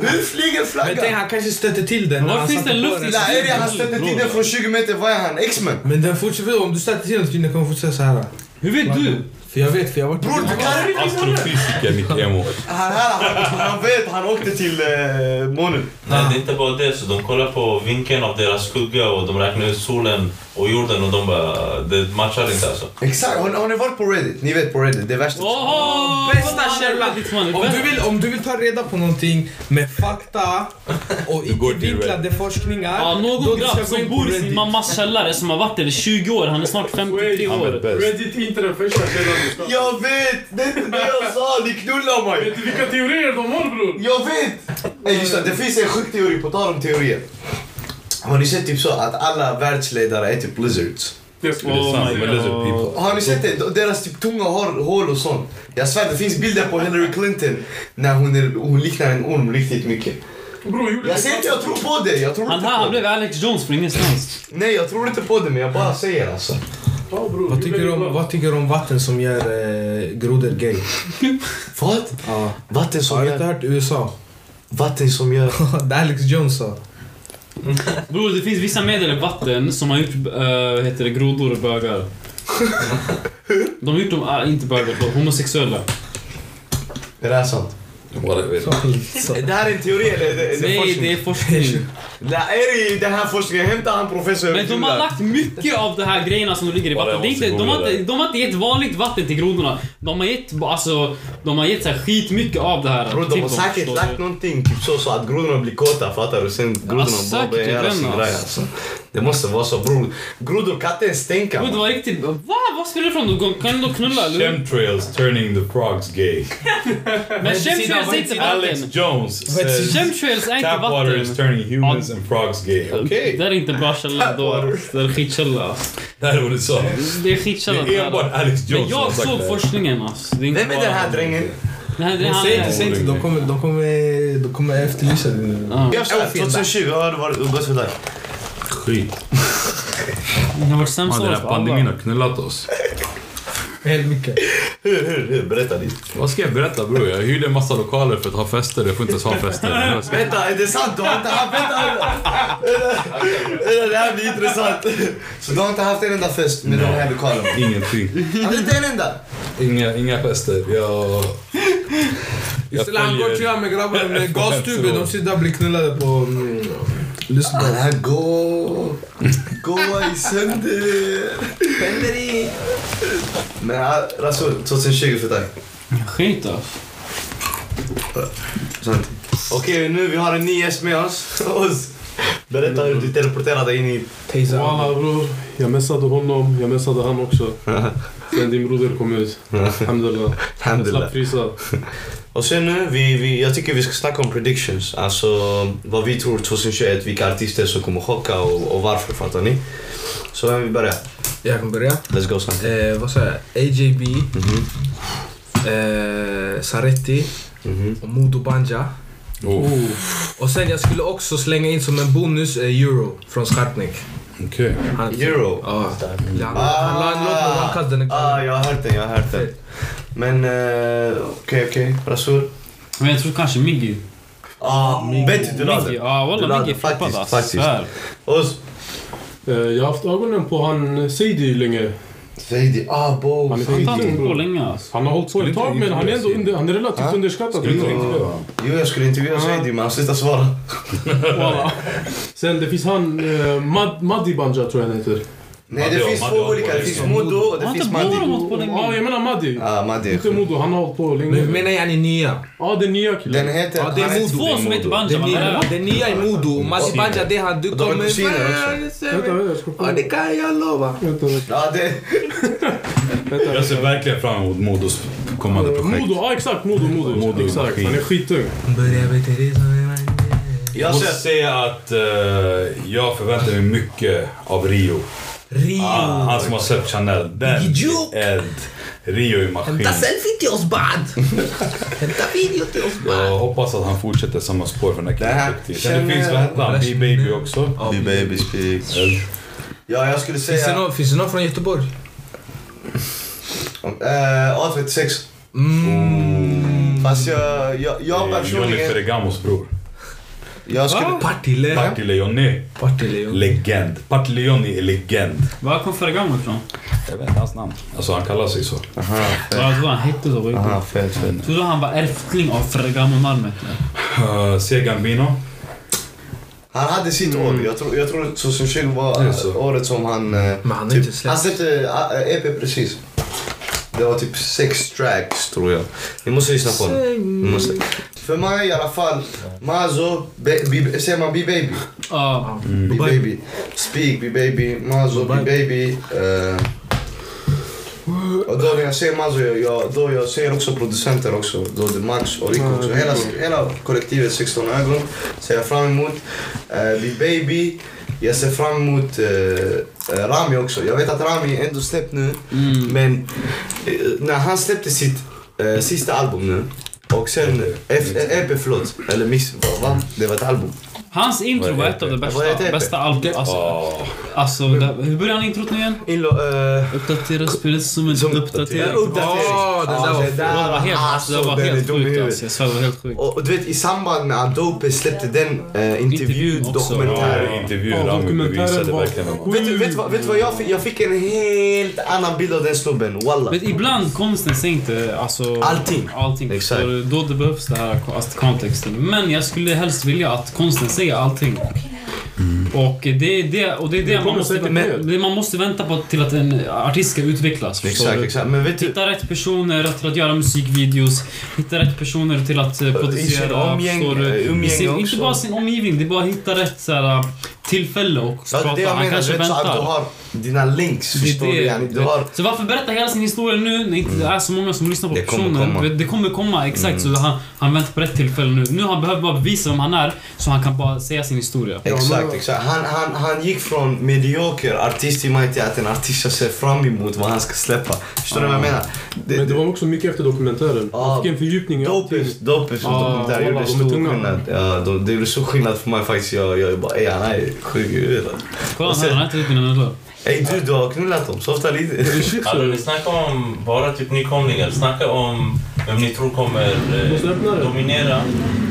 [SPEAKER 3] Hur flyger
[SPEAKER 7] Alltså, Men tänk
[SPEAKER 3] flaggan?
[SPEAKER 7] han kanske stötte till den. när
[SPEAKER 2] Var
[SPEAKER 7] han
[SPEAKER 2] finns
[SPEAKER 7] satte
[SPEAKER 2] det
[SPEAKER 7] på
[SPEAKER 2] luft i-
[SPEAKER 7] den.
[SPEAKER 3] Lahiri, han stötte till den från 20 meter. Vad är han? X-Men?
[SPEAKER 7] Men den fortsätter, om du stöter till den så kommer den fortsätta såhär.
[SPEAKER 2] Hur vet du?
[SPEAKER 4] För jag vet, för jag var
[SPEAKER 3] Bror, du kan inte
[SPEAKER 1] Astrofysiker
[SPEAKER 2] *laughs*
[SPEAKER 1] Nick
[SPEAKER 2] Oh
[SPEAKER 1] Emo.
[SPEAKER 3] Han här, han, han vet, han åkte till eh, månen.
[SPEAKER 8] Nej, det är inte bara det. Så de kollar på vinkeln av deras skugga och de räknar ut solen och jorden och de bara... Det matchar inte alltså.
[SPEAKER 3] Exakt, har, har ni varit på Reddit? Ni vet på Reddit, det är värsta.
[SPEAKER 2] Åh,
[SPEAKER 4] Bästa
[SPEAKER 2] fan,
[SPEAKER 4] källan.
[SPEAKER 2] det är fan, det är
[SPEAKER 4] Om du,
[SPEAKER 2] bäst.
[SPEAKER 4] vill, om du vill ta reda på någonting med fakta och
[SPEAKER 1] går
[SPEAKER 4] icke
[SPEAKER 1] till
[SPEAKER 4] vinklade forskningar.
[SPEAKER 2] Ja,
[SPEAKER 4] då
[SPEAKER 2] någon
[SPEAKER 4] ska
[SPEAKER 2] grabb
[SPEAKER 4] jag gå in
[SPEAKER 2] som
[SPEAKER 4] på
[SPEAKER 2] bor i sin
[SPEAKER 4] Reddit.
[SPEAKER 2] mammas källare som har varit där i 20 år. Han är snart 53 år.
[SPEAKER 6] Reddit är inte den första källan du ska...
[SPEAKER 3] Jag vet! Det är inte det jag sa, ni knullar mig!
[SPEAKER 6] Vet du vilka teorier de har bror?
[SPEAKER 3] Jag vet! Ey, just det, det finns en sjuk teori, på tal om teorier. Har ni sett typ så att alla världsledare är typ lizards?
[SPEAKER 6] Det ska
[SPEAKER 2] Oh
[SPEAKER 1] sant,
[SPEAKER 2] my
[SPEAKER 1] men lizard
[SPEAKER 2] god.
[SPEAKER 1] people.
[SPEAKER 3] Har ni sett det? Deras typ tunga har hål och sånt. Jag svär, det finns bilder på Hillary Clinton när hon, är, hon liknar en orm riktigt mycket.
[SPEAKER 6] Bror gjorde
[SPEAKER 3] Jag säger inte jag tror på det, jag tror
[SPEAKER 2] Han
[SPEAKER 3] inte
[SPEAKER 2] här, han
[SPEAKER 3] på
[SPEAKER 2] blev
[SPEAKER 3] det.
[SPEAKER 2] Alex Jones från ingenstans.
[SPEAKER 3] Nej, jag tror inte på det, men jag bara säger alltså.
[SPEAKER 6] Ja, bror,
[SPEAKER 7] Vad
[SPEAKER 6] gjorde
[SPEAKER 7] tycker,
[SPEAKER 6] det
[SPEAKER 7] du om,
[SPEAKER 6] bra.
[SPEAKER 7] vad tycker du om vatten som gör eh, grodor gay?
[SPEAKER 3] Vad?
[SPEAKER 7] Ja.
[SPEAKER 3] Vatten som
[SPEAKER 7] Har du inte
[SPEAKER 3] gör...
[SPEAKER 7] hört
[SPEAKER 4] *laughs*
[SPEAKER 7] USA?
[SPEAKER 3] Vatten som gör...
[SPEAKER 7] Det Alex Jones sa.
[SPEAKER 2] Bror, det finns vissa medel i vatten som har gjort eh, vad heter det, grodor och
[SPEAKER 4] *laughs*
[SPEAKER 2] bögar. De har gjort dem, ah, inte bögar, förlåt, homosexuella.
[SPEAKER 3] Det där är sant.
[SPEAKER 5] Whatever.
[SPEAKER 3] Det här är en teori eller? Det, det,
[SPEAKER 2] Nej, det är forskning.
[SPEAKER 3] Det är i den här forskningen. Hämta han professor.
[SPEAKER 2] *laughs* Men de har lagt mycket av de här grejerna som ligger i
[SPEAKER 8] Bara
[SPEAKER 2] vatten.
[SPEAKER 8] jag
[SPEAKER 2] Det är
[SPEAKER 8] måste
[SPEAKER 2] inte, de, har
[SPEAKER 8] googla
[SPEAKER 2] inte, de har inte gett vanligt vatten till grodorna. De har gett, alltså, de har gett så här skitmycket av det här.
[SPEAKER 3] Bro,
[SPEAKER 2] till
[SPEAKER 3] de har
[SPEAKER 2] dem,
[SPEAKER 3] säkert
[SPEAKER 2] Typ förstår
[SPEAKER 3] lagt
[SPEAKER 2] du?
[SPEAKER 3] någonting typ så, så att grodorna blir kåta fattar du? Sen grodorna bara
[SPEAKER 2] säkert,
[SPEAKER 3] börjar
[SPEAKER 2] jag
[SPEAKER 3] göra
[SPEAKER 2] vet
[SPEAKER 3] sin
[SPEAKER 2] inte,
[SPEAKER 3] grej alltså. Det måste vara så bror. Grodor kan inte ens tänka.
[SPEAKER 2] Bror, det var riktigt... Va? Vad spelar det för roll? De Kan de knulla eller? hur?
[SPEAKER 1] Chemtrails turning the frogs gay.
[SPEAKER 2] Men chemtrails är inte
[SPEAKER 1] Alex
[SPEAKER 2] vatten.
[SPEAKER 1] Jones says
[SPEAKER 2] Chemtrails är inte
[SPEAKER 1] tap water is
[SPEAKER 2] vatten.
[SPEAKER 1] turning humans and frogs gay.
[SPEAKER 3] Okej.
[SPEAKER 2] Det är inte bra källa då.
[SPEAKER 3] Tapwater.
[SPEAKER 2] Det är skitkälla. alltså.
[SPEAKER 1] Det här är vad du sa.
[SPEAKER 2] Det är skitkälla.
[SPEAKER 1] Det är
[SPEAKER 2] här.
[SPEAKER 1] enbart Alex
[SPEAKER 2] Men
[SPEAKER 1] Jones som har
[SPEAKER 2] jag
[SPEAKER 1] sagt
[SPEAKER 2] såg
[SPEAKER 1] det.
[SPEAKER 2] forskningen alltså. Det är inte
[SPEAKER 3] Vem är den här
[SPEAKER 2] bara...
[SPEAKER 3] drängen?
[SPEAKER 2] Den här drängen?
[SPEAKER 7] Säg inte, säg inte. De kommer, de kommer, de kommer efterlysa din...
[SPEAKER 3] Jag sa 2020 har det varit umgås för dig.
[SPEAKER 1] Skit.
[SPEAKER 2] Det har varit sämst
[SPEAKER 5] Fan, den
[SPEAKER 2] år
[SPEAKER 5] här
[SPEAKER 2] för alla.
[SPEAKER 5] pandemin har knullat oss.
[SPEAKER 7] Helt mycket.
[SPEAKER 3] Hur, hur, hur? Berätta lite.
[SPEAKER 5] Vad ska jag berätta bror? Jag hyrde en massa lokaler för att ha fester. *laughs* Jag får inte ens ha fester.
[SPEAKER 3] Vänta, är det sant? Du har inte haft... Vänta! Eller, det här blir intressant. Så du har inte haft en enda fest med de här lokalerna?
[SPEAKER 5] Ingenting.
[SPEAKER 3] Har du Inte en enda?
[SPEAKER 5] Inga, inga fester. Jag... Jag
[SPEAKER 7] Istället han går
[SPEAKER 5] följer...
[SPEAKER 7] chilla med *laughs* grabbarna med
[SPEAKER 5] Efteråt.
[SPEAKER 7] gastuber. De sitter där och blir knullade på... Mm, lyssna.
[SPEAKER 3] Den här går... Går i sönder. Vänder i. Men ja, Rasul, 2020 för dig.
[SPEAKER 2] Skit alltså.
[SPEAKER 3] Sant. Okej, nu vi har en ny gäst med oss. oss. Berätta hur du teleporterade in i...
[SPEAKER 7] Tejsa.
[SPEAKER 6] Walla bror, jag messade honom, jag messade han
[SPEAKER 3] *laughs*
[SPEAKER 6] också. Sen din broder kom ut. Alhamdulillah. Jag slapp frysa.
[SPEAKER 3] Och sen nu, vi, vi, jag tycker vi ska snacka om predictions. Alltså vad vi tror 2021, vilka artister som kommer chocka och, och varför, fattar ni? Så vem vill börja?
[SPEAKER 7] Jag kan börja.
[SPEAKER 3] Let's go Sam.
[SPEAKER 7] Eh, vad sa jag? AJB.
[SPEAKER 3] Mhm.
[SPEAKER 7] Eh, Saretti.
[SPEAKER 3] Mhm.
[SPEAKER 7] Och Modo Banja.
[SPEAKER 5] Oh,
[SPEAKER 7] Och sen jag skulle också slänga in som en bonus eh, Euro från Skarpnäck.
[SPEAKER 5] Okej.
[SPEAKER 7] Han,
[SPEAKER 3] Euro.
[SPEAKER 7] Ja. Han- Han
[SPEAKER 3] Ah.
[SPEAKER 7] la en låt med One Cut, den är
[SPEAKER 3] Ah,
[SPEAKER 7] kvar.
[SPEAKER 3] jag har hört den, jag har hört den. Men eh, okej, okej. Rasul?
[SPEAKER 2] Men jag tror kanske Miggy.
[SPEAKER 3] Ah, Betty, du la
[SPEAKER 2] Miggy,
[SPEAKER 3] den.
[SPEAKER 2] ja
[SPEAKER 3] Du la
[SPEAKER 2] walla Miggy är
[SPEAKER 3] den, faktiskt,
[SPEAKER 2] flippad alltså.
[SPEAKER 3] faktiskt.
[SPEAKER 2] Svär.
[SPEAKER 3] Och
[SPEAKER 6] Eh, Jag har haft ögonen på han Seidi länge.
[SPEAKER 3] Zaidi, ah bo.
[SPEAKER 6] Han är
[SPEAKER 2] Han
[SPEAKER 6] skit.
[SPEAKER 2] har inte på länge alltså.
[SPEAKER 6] Han har hållit på ett tag men han är ändå under, han är
[SPEAKER 3] Ah?
[SPEAKER 6] relativt underskattad.
[SPEAKER 5] Skulle inte
[SPEAKER 6] ändå.
[SPEAKER 5] intervjua
[SPEAKER 3] Jo, jag skulle
[SPEAKER 7] Ah.
[SPEAKER 3] intervjua Zaidi men han slutade svara.
[SPEAKER 6] Walla. Sen det finns han, eh, Mad, Maddi Banja tror jag han heter.
[SPEAKER 3] Nej, det
[SPEAKER 1] Madde,
[SPEAKER 3] finns
[SPEAKER 1] Madde
[SPEAKER 3] två
[SPEAKER 1] har
[SPEAKER 3] olika. Det
[SPEAKER 1] varit
[SPEAKER 3] finns
[SPEAKER 1] med.
[SPEAKER 3] Modo och det
[SPEAKER 2] Har
[SPEAKER 3] finns
[SPEAKER 2] inte Bora
[SPEAKER 3] Maddi.
[SPEAKER 2] hållit på
[SPEAKER 6] Ja, ah,
[SPEAKER 2] länge?
[SPEAKER 6] jag menar Maddi.
[SPEAKER 3] Ah, Maddi. är
[SPEAKER 6] Inte
[SPEAKER 3] skit.
[SPEAKER 6] Modo, han har hållit på länge.
[SPEAKER 7] Men menar jag ni nya?
[SPEAKER 6] Ja, den nya
[SPEAKER 3] Den
[SPEAKER 6] killen.
[SPEAKER 3] heter...
[SPEAKER 7] Ja, det är
[SPEAKER 3] han heter-
[SPEAKER 7] Modo.
[SPEAKER 2] Två som heter Banja,
[SPEAKER 7] Den
[SPEAKER 2] man
[SPEAKER 7] nya,
[SPEAKER 2] lär.
[SPEAKER 7] den nya är Modo. Masi Banja, det är han. Du
[SPEAKER 3] Och de är
[SPEAKER 7] kommer...
[SPEAKER 3] kusiner
[SPEAKER 6] Vänta, vänta, jag ska
[SPEAKER 7] Ja, det kan jag lova.
[SPEAKER 6] Vänta, vänta,
[SPEAKER 3] Ja, det...
[SPEAKER 6] vänta.
[SPEAKER 5] Jag ser verkligen fram emot Modos kommande projekt.
[SPEAKER 6] Modo, ja exakt Modo, Modo.
[SPEAKER 5] Modo,
[SPEAKER 6] exakt.
[SPEAKER 5] maskin.
[SPEAKER 6] Han är skittung.
[SPEAKER 7] Börja veta det som är man.
[SPEAKER 3] Jag
[SPEAKER 5] Jag måste
[SPEAKER 3] ser...
[SPEAKER 5] säga att eh, jag förväntar mig mycket av Rio.
[SPEAKER 7] Rio.
[SPEAKER 5] Ah, han som har släppt Chanel. Den
[SPEAKER 7] Idiot.
[SPEAKER 5] är eld. Rio är maskin.
[SPEAKER 7] selfie till oss bad! Hämta video till oss
[SPEAKER 5] Jag hoppas att han fortsätter samma spår för den här
[SPEAKER 3] Det här
[SPEAKER 5] killen. riktigt. Sen det
[SPEAKER 3] känner-
[SPEAKER 5] finns väntan, B-Baby också.
[SPEAKER 3] Be baby speaks.
[SPEAKER 5] Eld.
[SPEAKER 3] Ja, jag skulle
[SPEAKER 7] Finns det
[SPEAKER 3] säga...
[SPEAKER 7] någon, finns det någon från Göteborg?
[SPEAKER 3] Eh, A36.
[SPEAKER 7] Mm.
[SPEAKER 3] Fast jag, jag, jag
[SPEAKER 5] Det
[SPEAKER 7] Eh,
[SPEAKER 5] är Johnny
[SPEAKER 3] personligen...
[SPEAKER 5] Ferragamos bror.
[SPEAKER 3] Jag skulle...
[SPEAKER 4] Partille.
[SPEAKER 5] Partille-Jonny.
[SPEAKER 7] Partille.
[SPEAKER 5] Legend. Partille-Jonny är legend.
[SPEAKER 2] Var kom Ferragamo ifrån?
[SPEAKER 5] Jag vet inte hans namn. Alltså han kallar sig så.
[SPEAKER 3] Aha,
[SPEAKER 2] Ja, Jag trodde han hette så. på riktigt.
[SPEAKER 3] aha, Ah, fett, fett.
[SPEAKER 2] Jag Trodde han var ärftling av Ferragamo Malmet.
[SPEAKER 5] Uh, C. Gambino.
[SPEAKER 3] Han hade sitt år. Jag tror, jag tror 2020 var
[SPEAKER 5] Det är så.
[SPEAKER 3] året som han... eh,
[SPEAKER 7] Men han har inte
[SPEAKER 3] typ,
[SPEAKER 7] släppt.
[SPEAKER 3] han släppte eh, EP precis. Det var typ sex tracks tror jag. Ni måste lyssna på den. Ni måste. För mig i alla fall, Mazo, Be- Be- säger man B-Baby?
[SPEAKER 2] Ja.
[SPEAKER 3] B-Baby. Speak B-Baby, Mazo, B-Baby. eh, och då när jag säger Mazo, jag, jag, då jag säger också producenter också. Då det är Max och Rico också. Hela, hela kollektivet 16 ögon ser jag fram emot. Eh, B-Baby. Jag ser fram emot eh, eh, Rami också. Jag vet att Rami ändå släppt nu.
[SPEAKER 2] Mm.
[SPEAKER 3] Men eh, när han släppte sitt eh, sista album nu och sen F- eh, EP förlåt, eller miss, va- va? Det var ett album.
[SPEAKER 2] Hans intro var ett av de
[SPEAKER 3] Vad heter
[SPEAKER 2] bästa,
[SPEAKER 3] det?
[SPEAKER 2] bästa albumen. Alltså,
[SPEAKER 5] Ah,
[SPEAKER 2] alltså, det- hur börjar han introt nu igen?
[SPEAKER 3] Inlo, eh,
[SPEAKER 2] Uppdatera spelet som ett
[SPEAKER 3] Som-
[SPEAKER 2] uppdaterat
[SPEAKER 3] Uppdatering.
[SPEAKER 7] Åh, den där var
[SPEAKER 3] det där Ah,
[SPEAKER 2] Det var helt, alltså, det var
[SPEAKER 3] den är
[SPEAKER 2] helt
[SPEAKER 3] dum i
[SPEAKER 2] sjukt
[SPEAKER 3] huvudet.
[SPEAKER 2] alltså. Jag svär, det var helt sjukt.
[SPEAKER 3] Och, och du vet i samband med att Dope släppte den eh,
[SPEAKER 2] Intervjun också.
[SPEAKER 3] intervjudokumentären.
[SPEAKER 5] ja, intervjun.
[SPEAKER 6] Ja,
[SPEAKER 5] Rami
[SPEAKER 6] dokumentären
[SPEAKER 5] bevisade
[SPEAKER 6] var-
[SPEAKER 5] verkligen vem han var.
[SPEAKER 3] Vet, du- vet, du vad- vet du vad jag fick? Jag fick en helt annan bild av den snubben, walla.
[SPEAKER 2] Men ibland konsten säger inte alltså,
[SPEAKER 3] Allting.
[SPEAKER 2] allting.
[SPEAKER 3] Exakt.
[SPEAKER 2] Så då det behövs det här alltså, kontexten. Men jag skulle helst vilja att konsten säger allting.
[SPEAKER 3] Mm.
[SPEAKER 2] Och det är det, och det, är det, man,
[SPEAKER 6] kommer
[SPEAKER 2] måste,
[SPEAKER 6] säkert
[SPEAKER 2] men- man måste vänta på till att en artist ska utvecklas. förstår
[SPEAKER 3] Exakt,
[SPEAKER 2] du?
[SPEAKER 3] exakt. Men vet du?
[SPEAKER 2] Hitta rätt personer till att göra musikvideos. Hitta rätt personer till att eh, producera.
[SPEAKER 3] sin omgäng-
[SPEAKER 2] förstår du?
[SPEAKER 3] eh, umgänge
[SPEAKER 2] I sin, inte
[SPEAKER 3] också.
[SPEAKER 2] bara sin omgivning, det är bara att hitta rätt så här, tillfälle och
[SPEAKER 3] Ja,
[SPEAKER 2] prata.
[SPEAKER 3] det jag
[SPEAKER 2] Han
[SPEAKER 3] menar, du
[SPEAKER 2] kanske
[SPEAKER 3] vet så att du
[SPEAKER 2] väntar.
[SPEAKER 3] har dina links,
[SPEAKER 2] Det är
[SPEAKER 3] förstår
[SPEAKER 2] det.
[SPEAKER 3] du? Yani, Du har
[SPEAKER 2] Så varför berätta hela sin historia nu när inte det är så många som lyssnar på
[SPEAKER 3] Mm. Det kommer
[SPEAKER 2] personen?
[SPEAKER 3] komma. Mm.
[SPEAKER 2] Du vet, Det kommer komma, exakt. Så han, han väntar på rätt tillfälle nu. Nu han behöver bara bevisa vem han är, så han kan bara säga sin historia.
[SPEAKER 3] Exakt, exakt. Han, han, han gick från medioker artist till mig till att en artist jag ser fram emot vad han ska släppa. Förstår du vad jag menar? Det,
[SPEAKER 6] Men det
[SPEAKER 3] det,
[SPEAKER 6] var också mycket efter dokumentären.
[SPEAKER 3] Ja.
[SPEAKER 6] Jag fick en fördjupning i allting.
[SPEAKER 3] Dopis, Dopis och
[SPEAKER 6] Ah,
[SPEAKER 3] dokumentär
[SPEAKER 6] wallah,
[SPEAKER 3] gjorde
[SPEAKER 6] de är
[SPEAKER 3] stor
[SPEAKER 6] tunga.
[SPEAKER 3] skillnad. Ja, de, det gjorde stor skillnad för mig faktiskt. Jag, jag bara, ey han är sjuk i huvudet.
[SPEAKER 2] Kolla
[SPEAKER 3] Och
[SPEAKER 2] här,
[SPEAKER 3] sen-
[SPEAKER 2] han typ har ätit upp mina nudlar.
[SPEAKER 3] Ey du, du har knullat dem. Softa lite.
[SPEAKER 8] Alltså, ni snackar om bara typ nykomlingar. Snacka om vem ni tror kommer
[SPEAKER 6] Måste öppna
[SPEAKER 8] eh,
[SPEAKER 6] det.
[SPEAKER 8] dominera.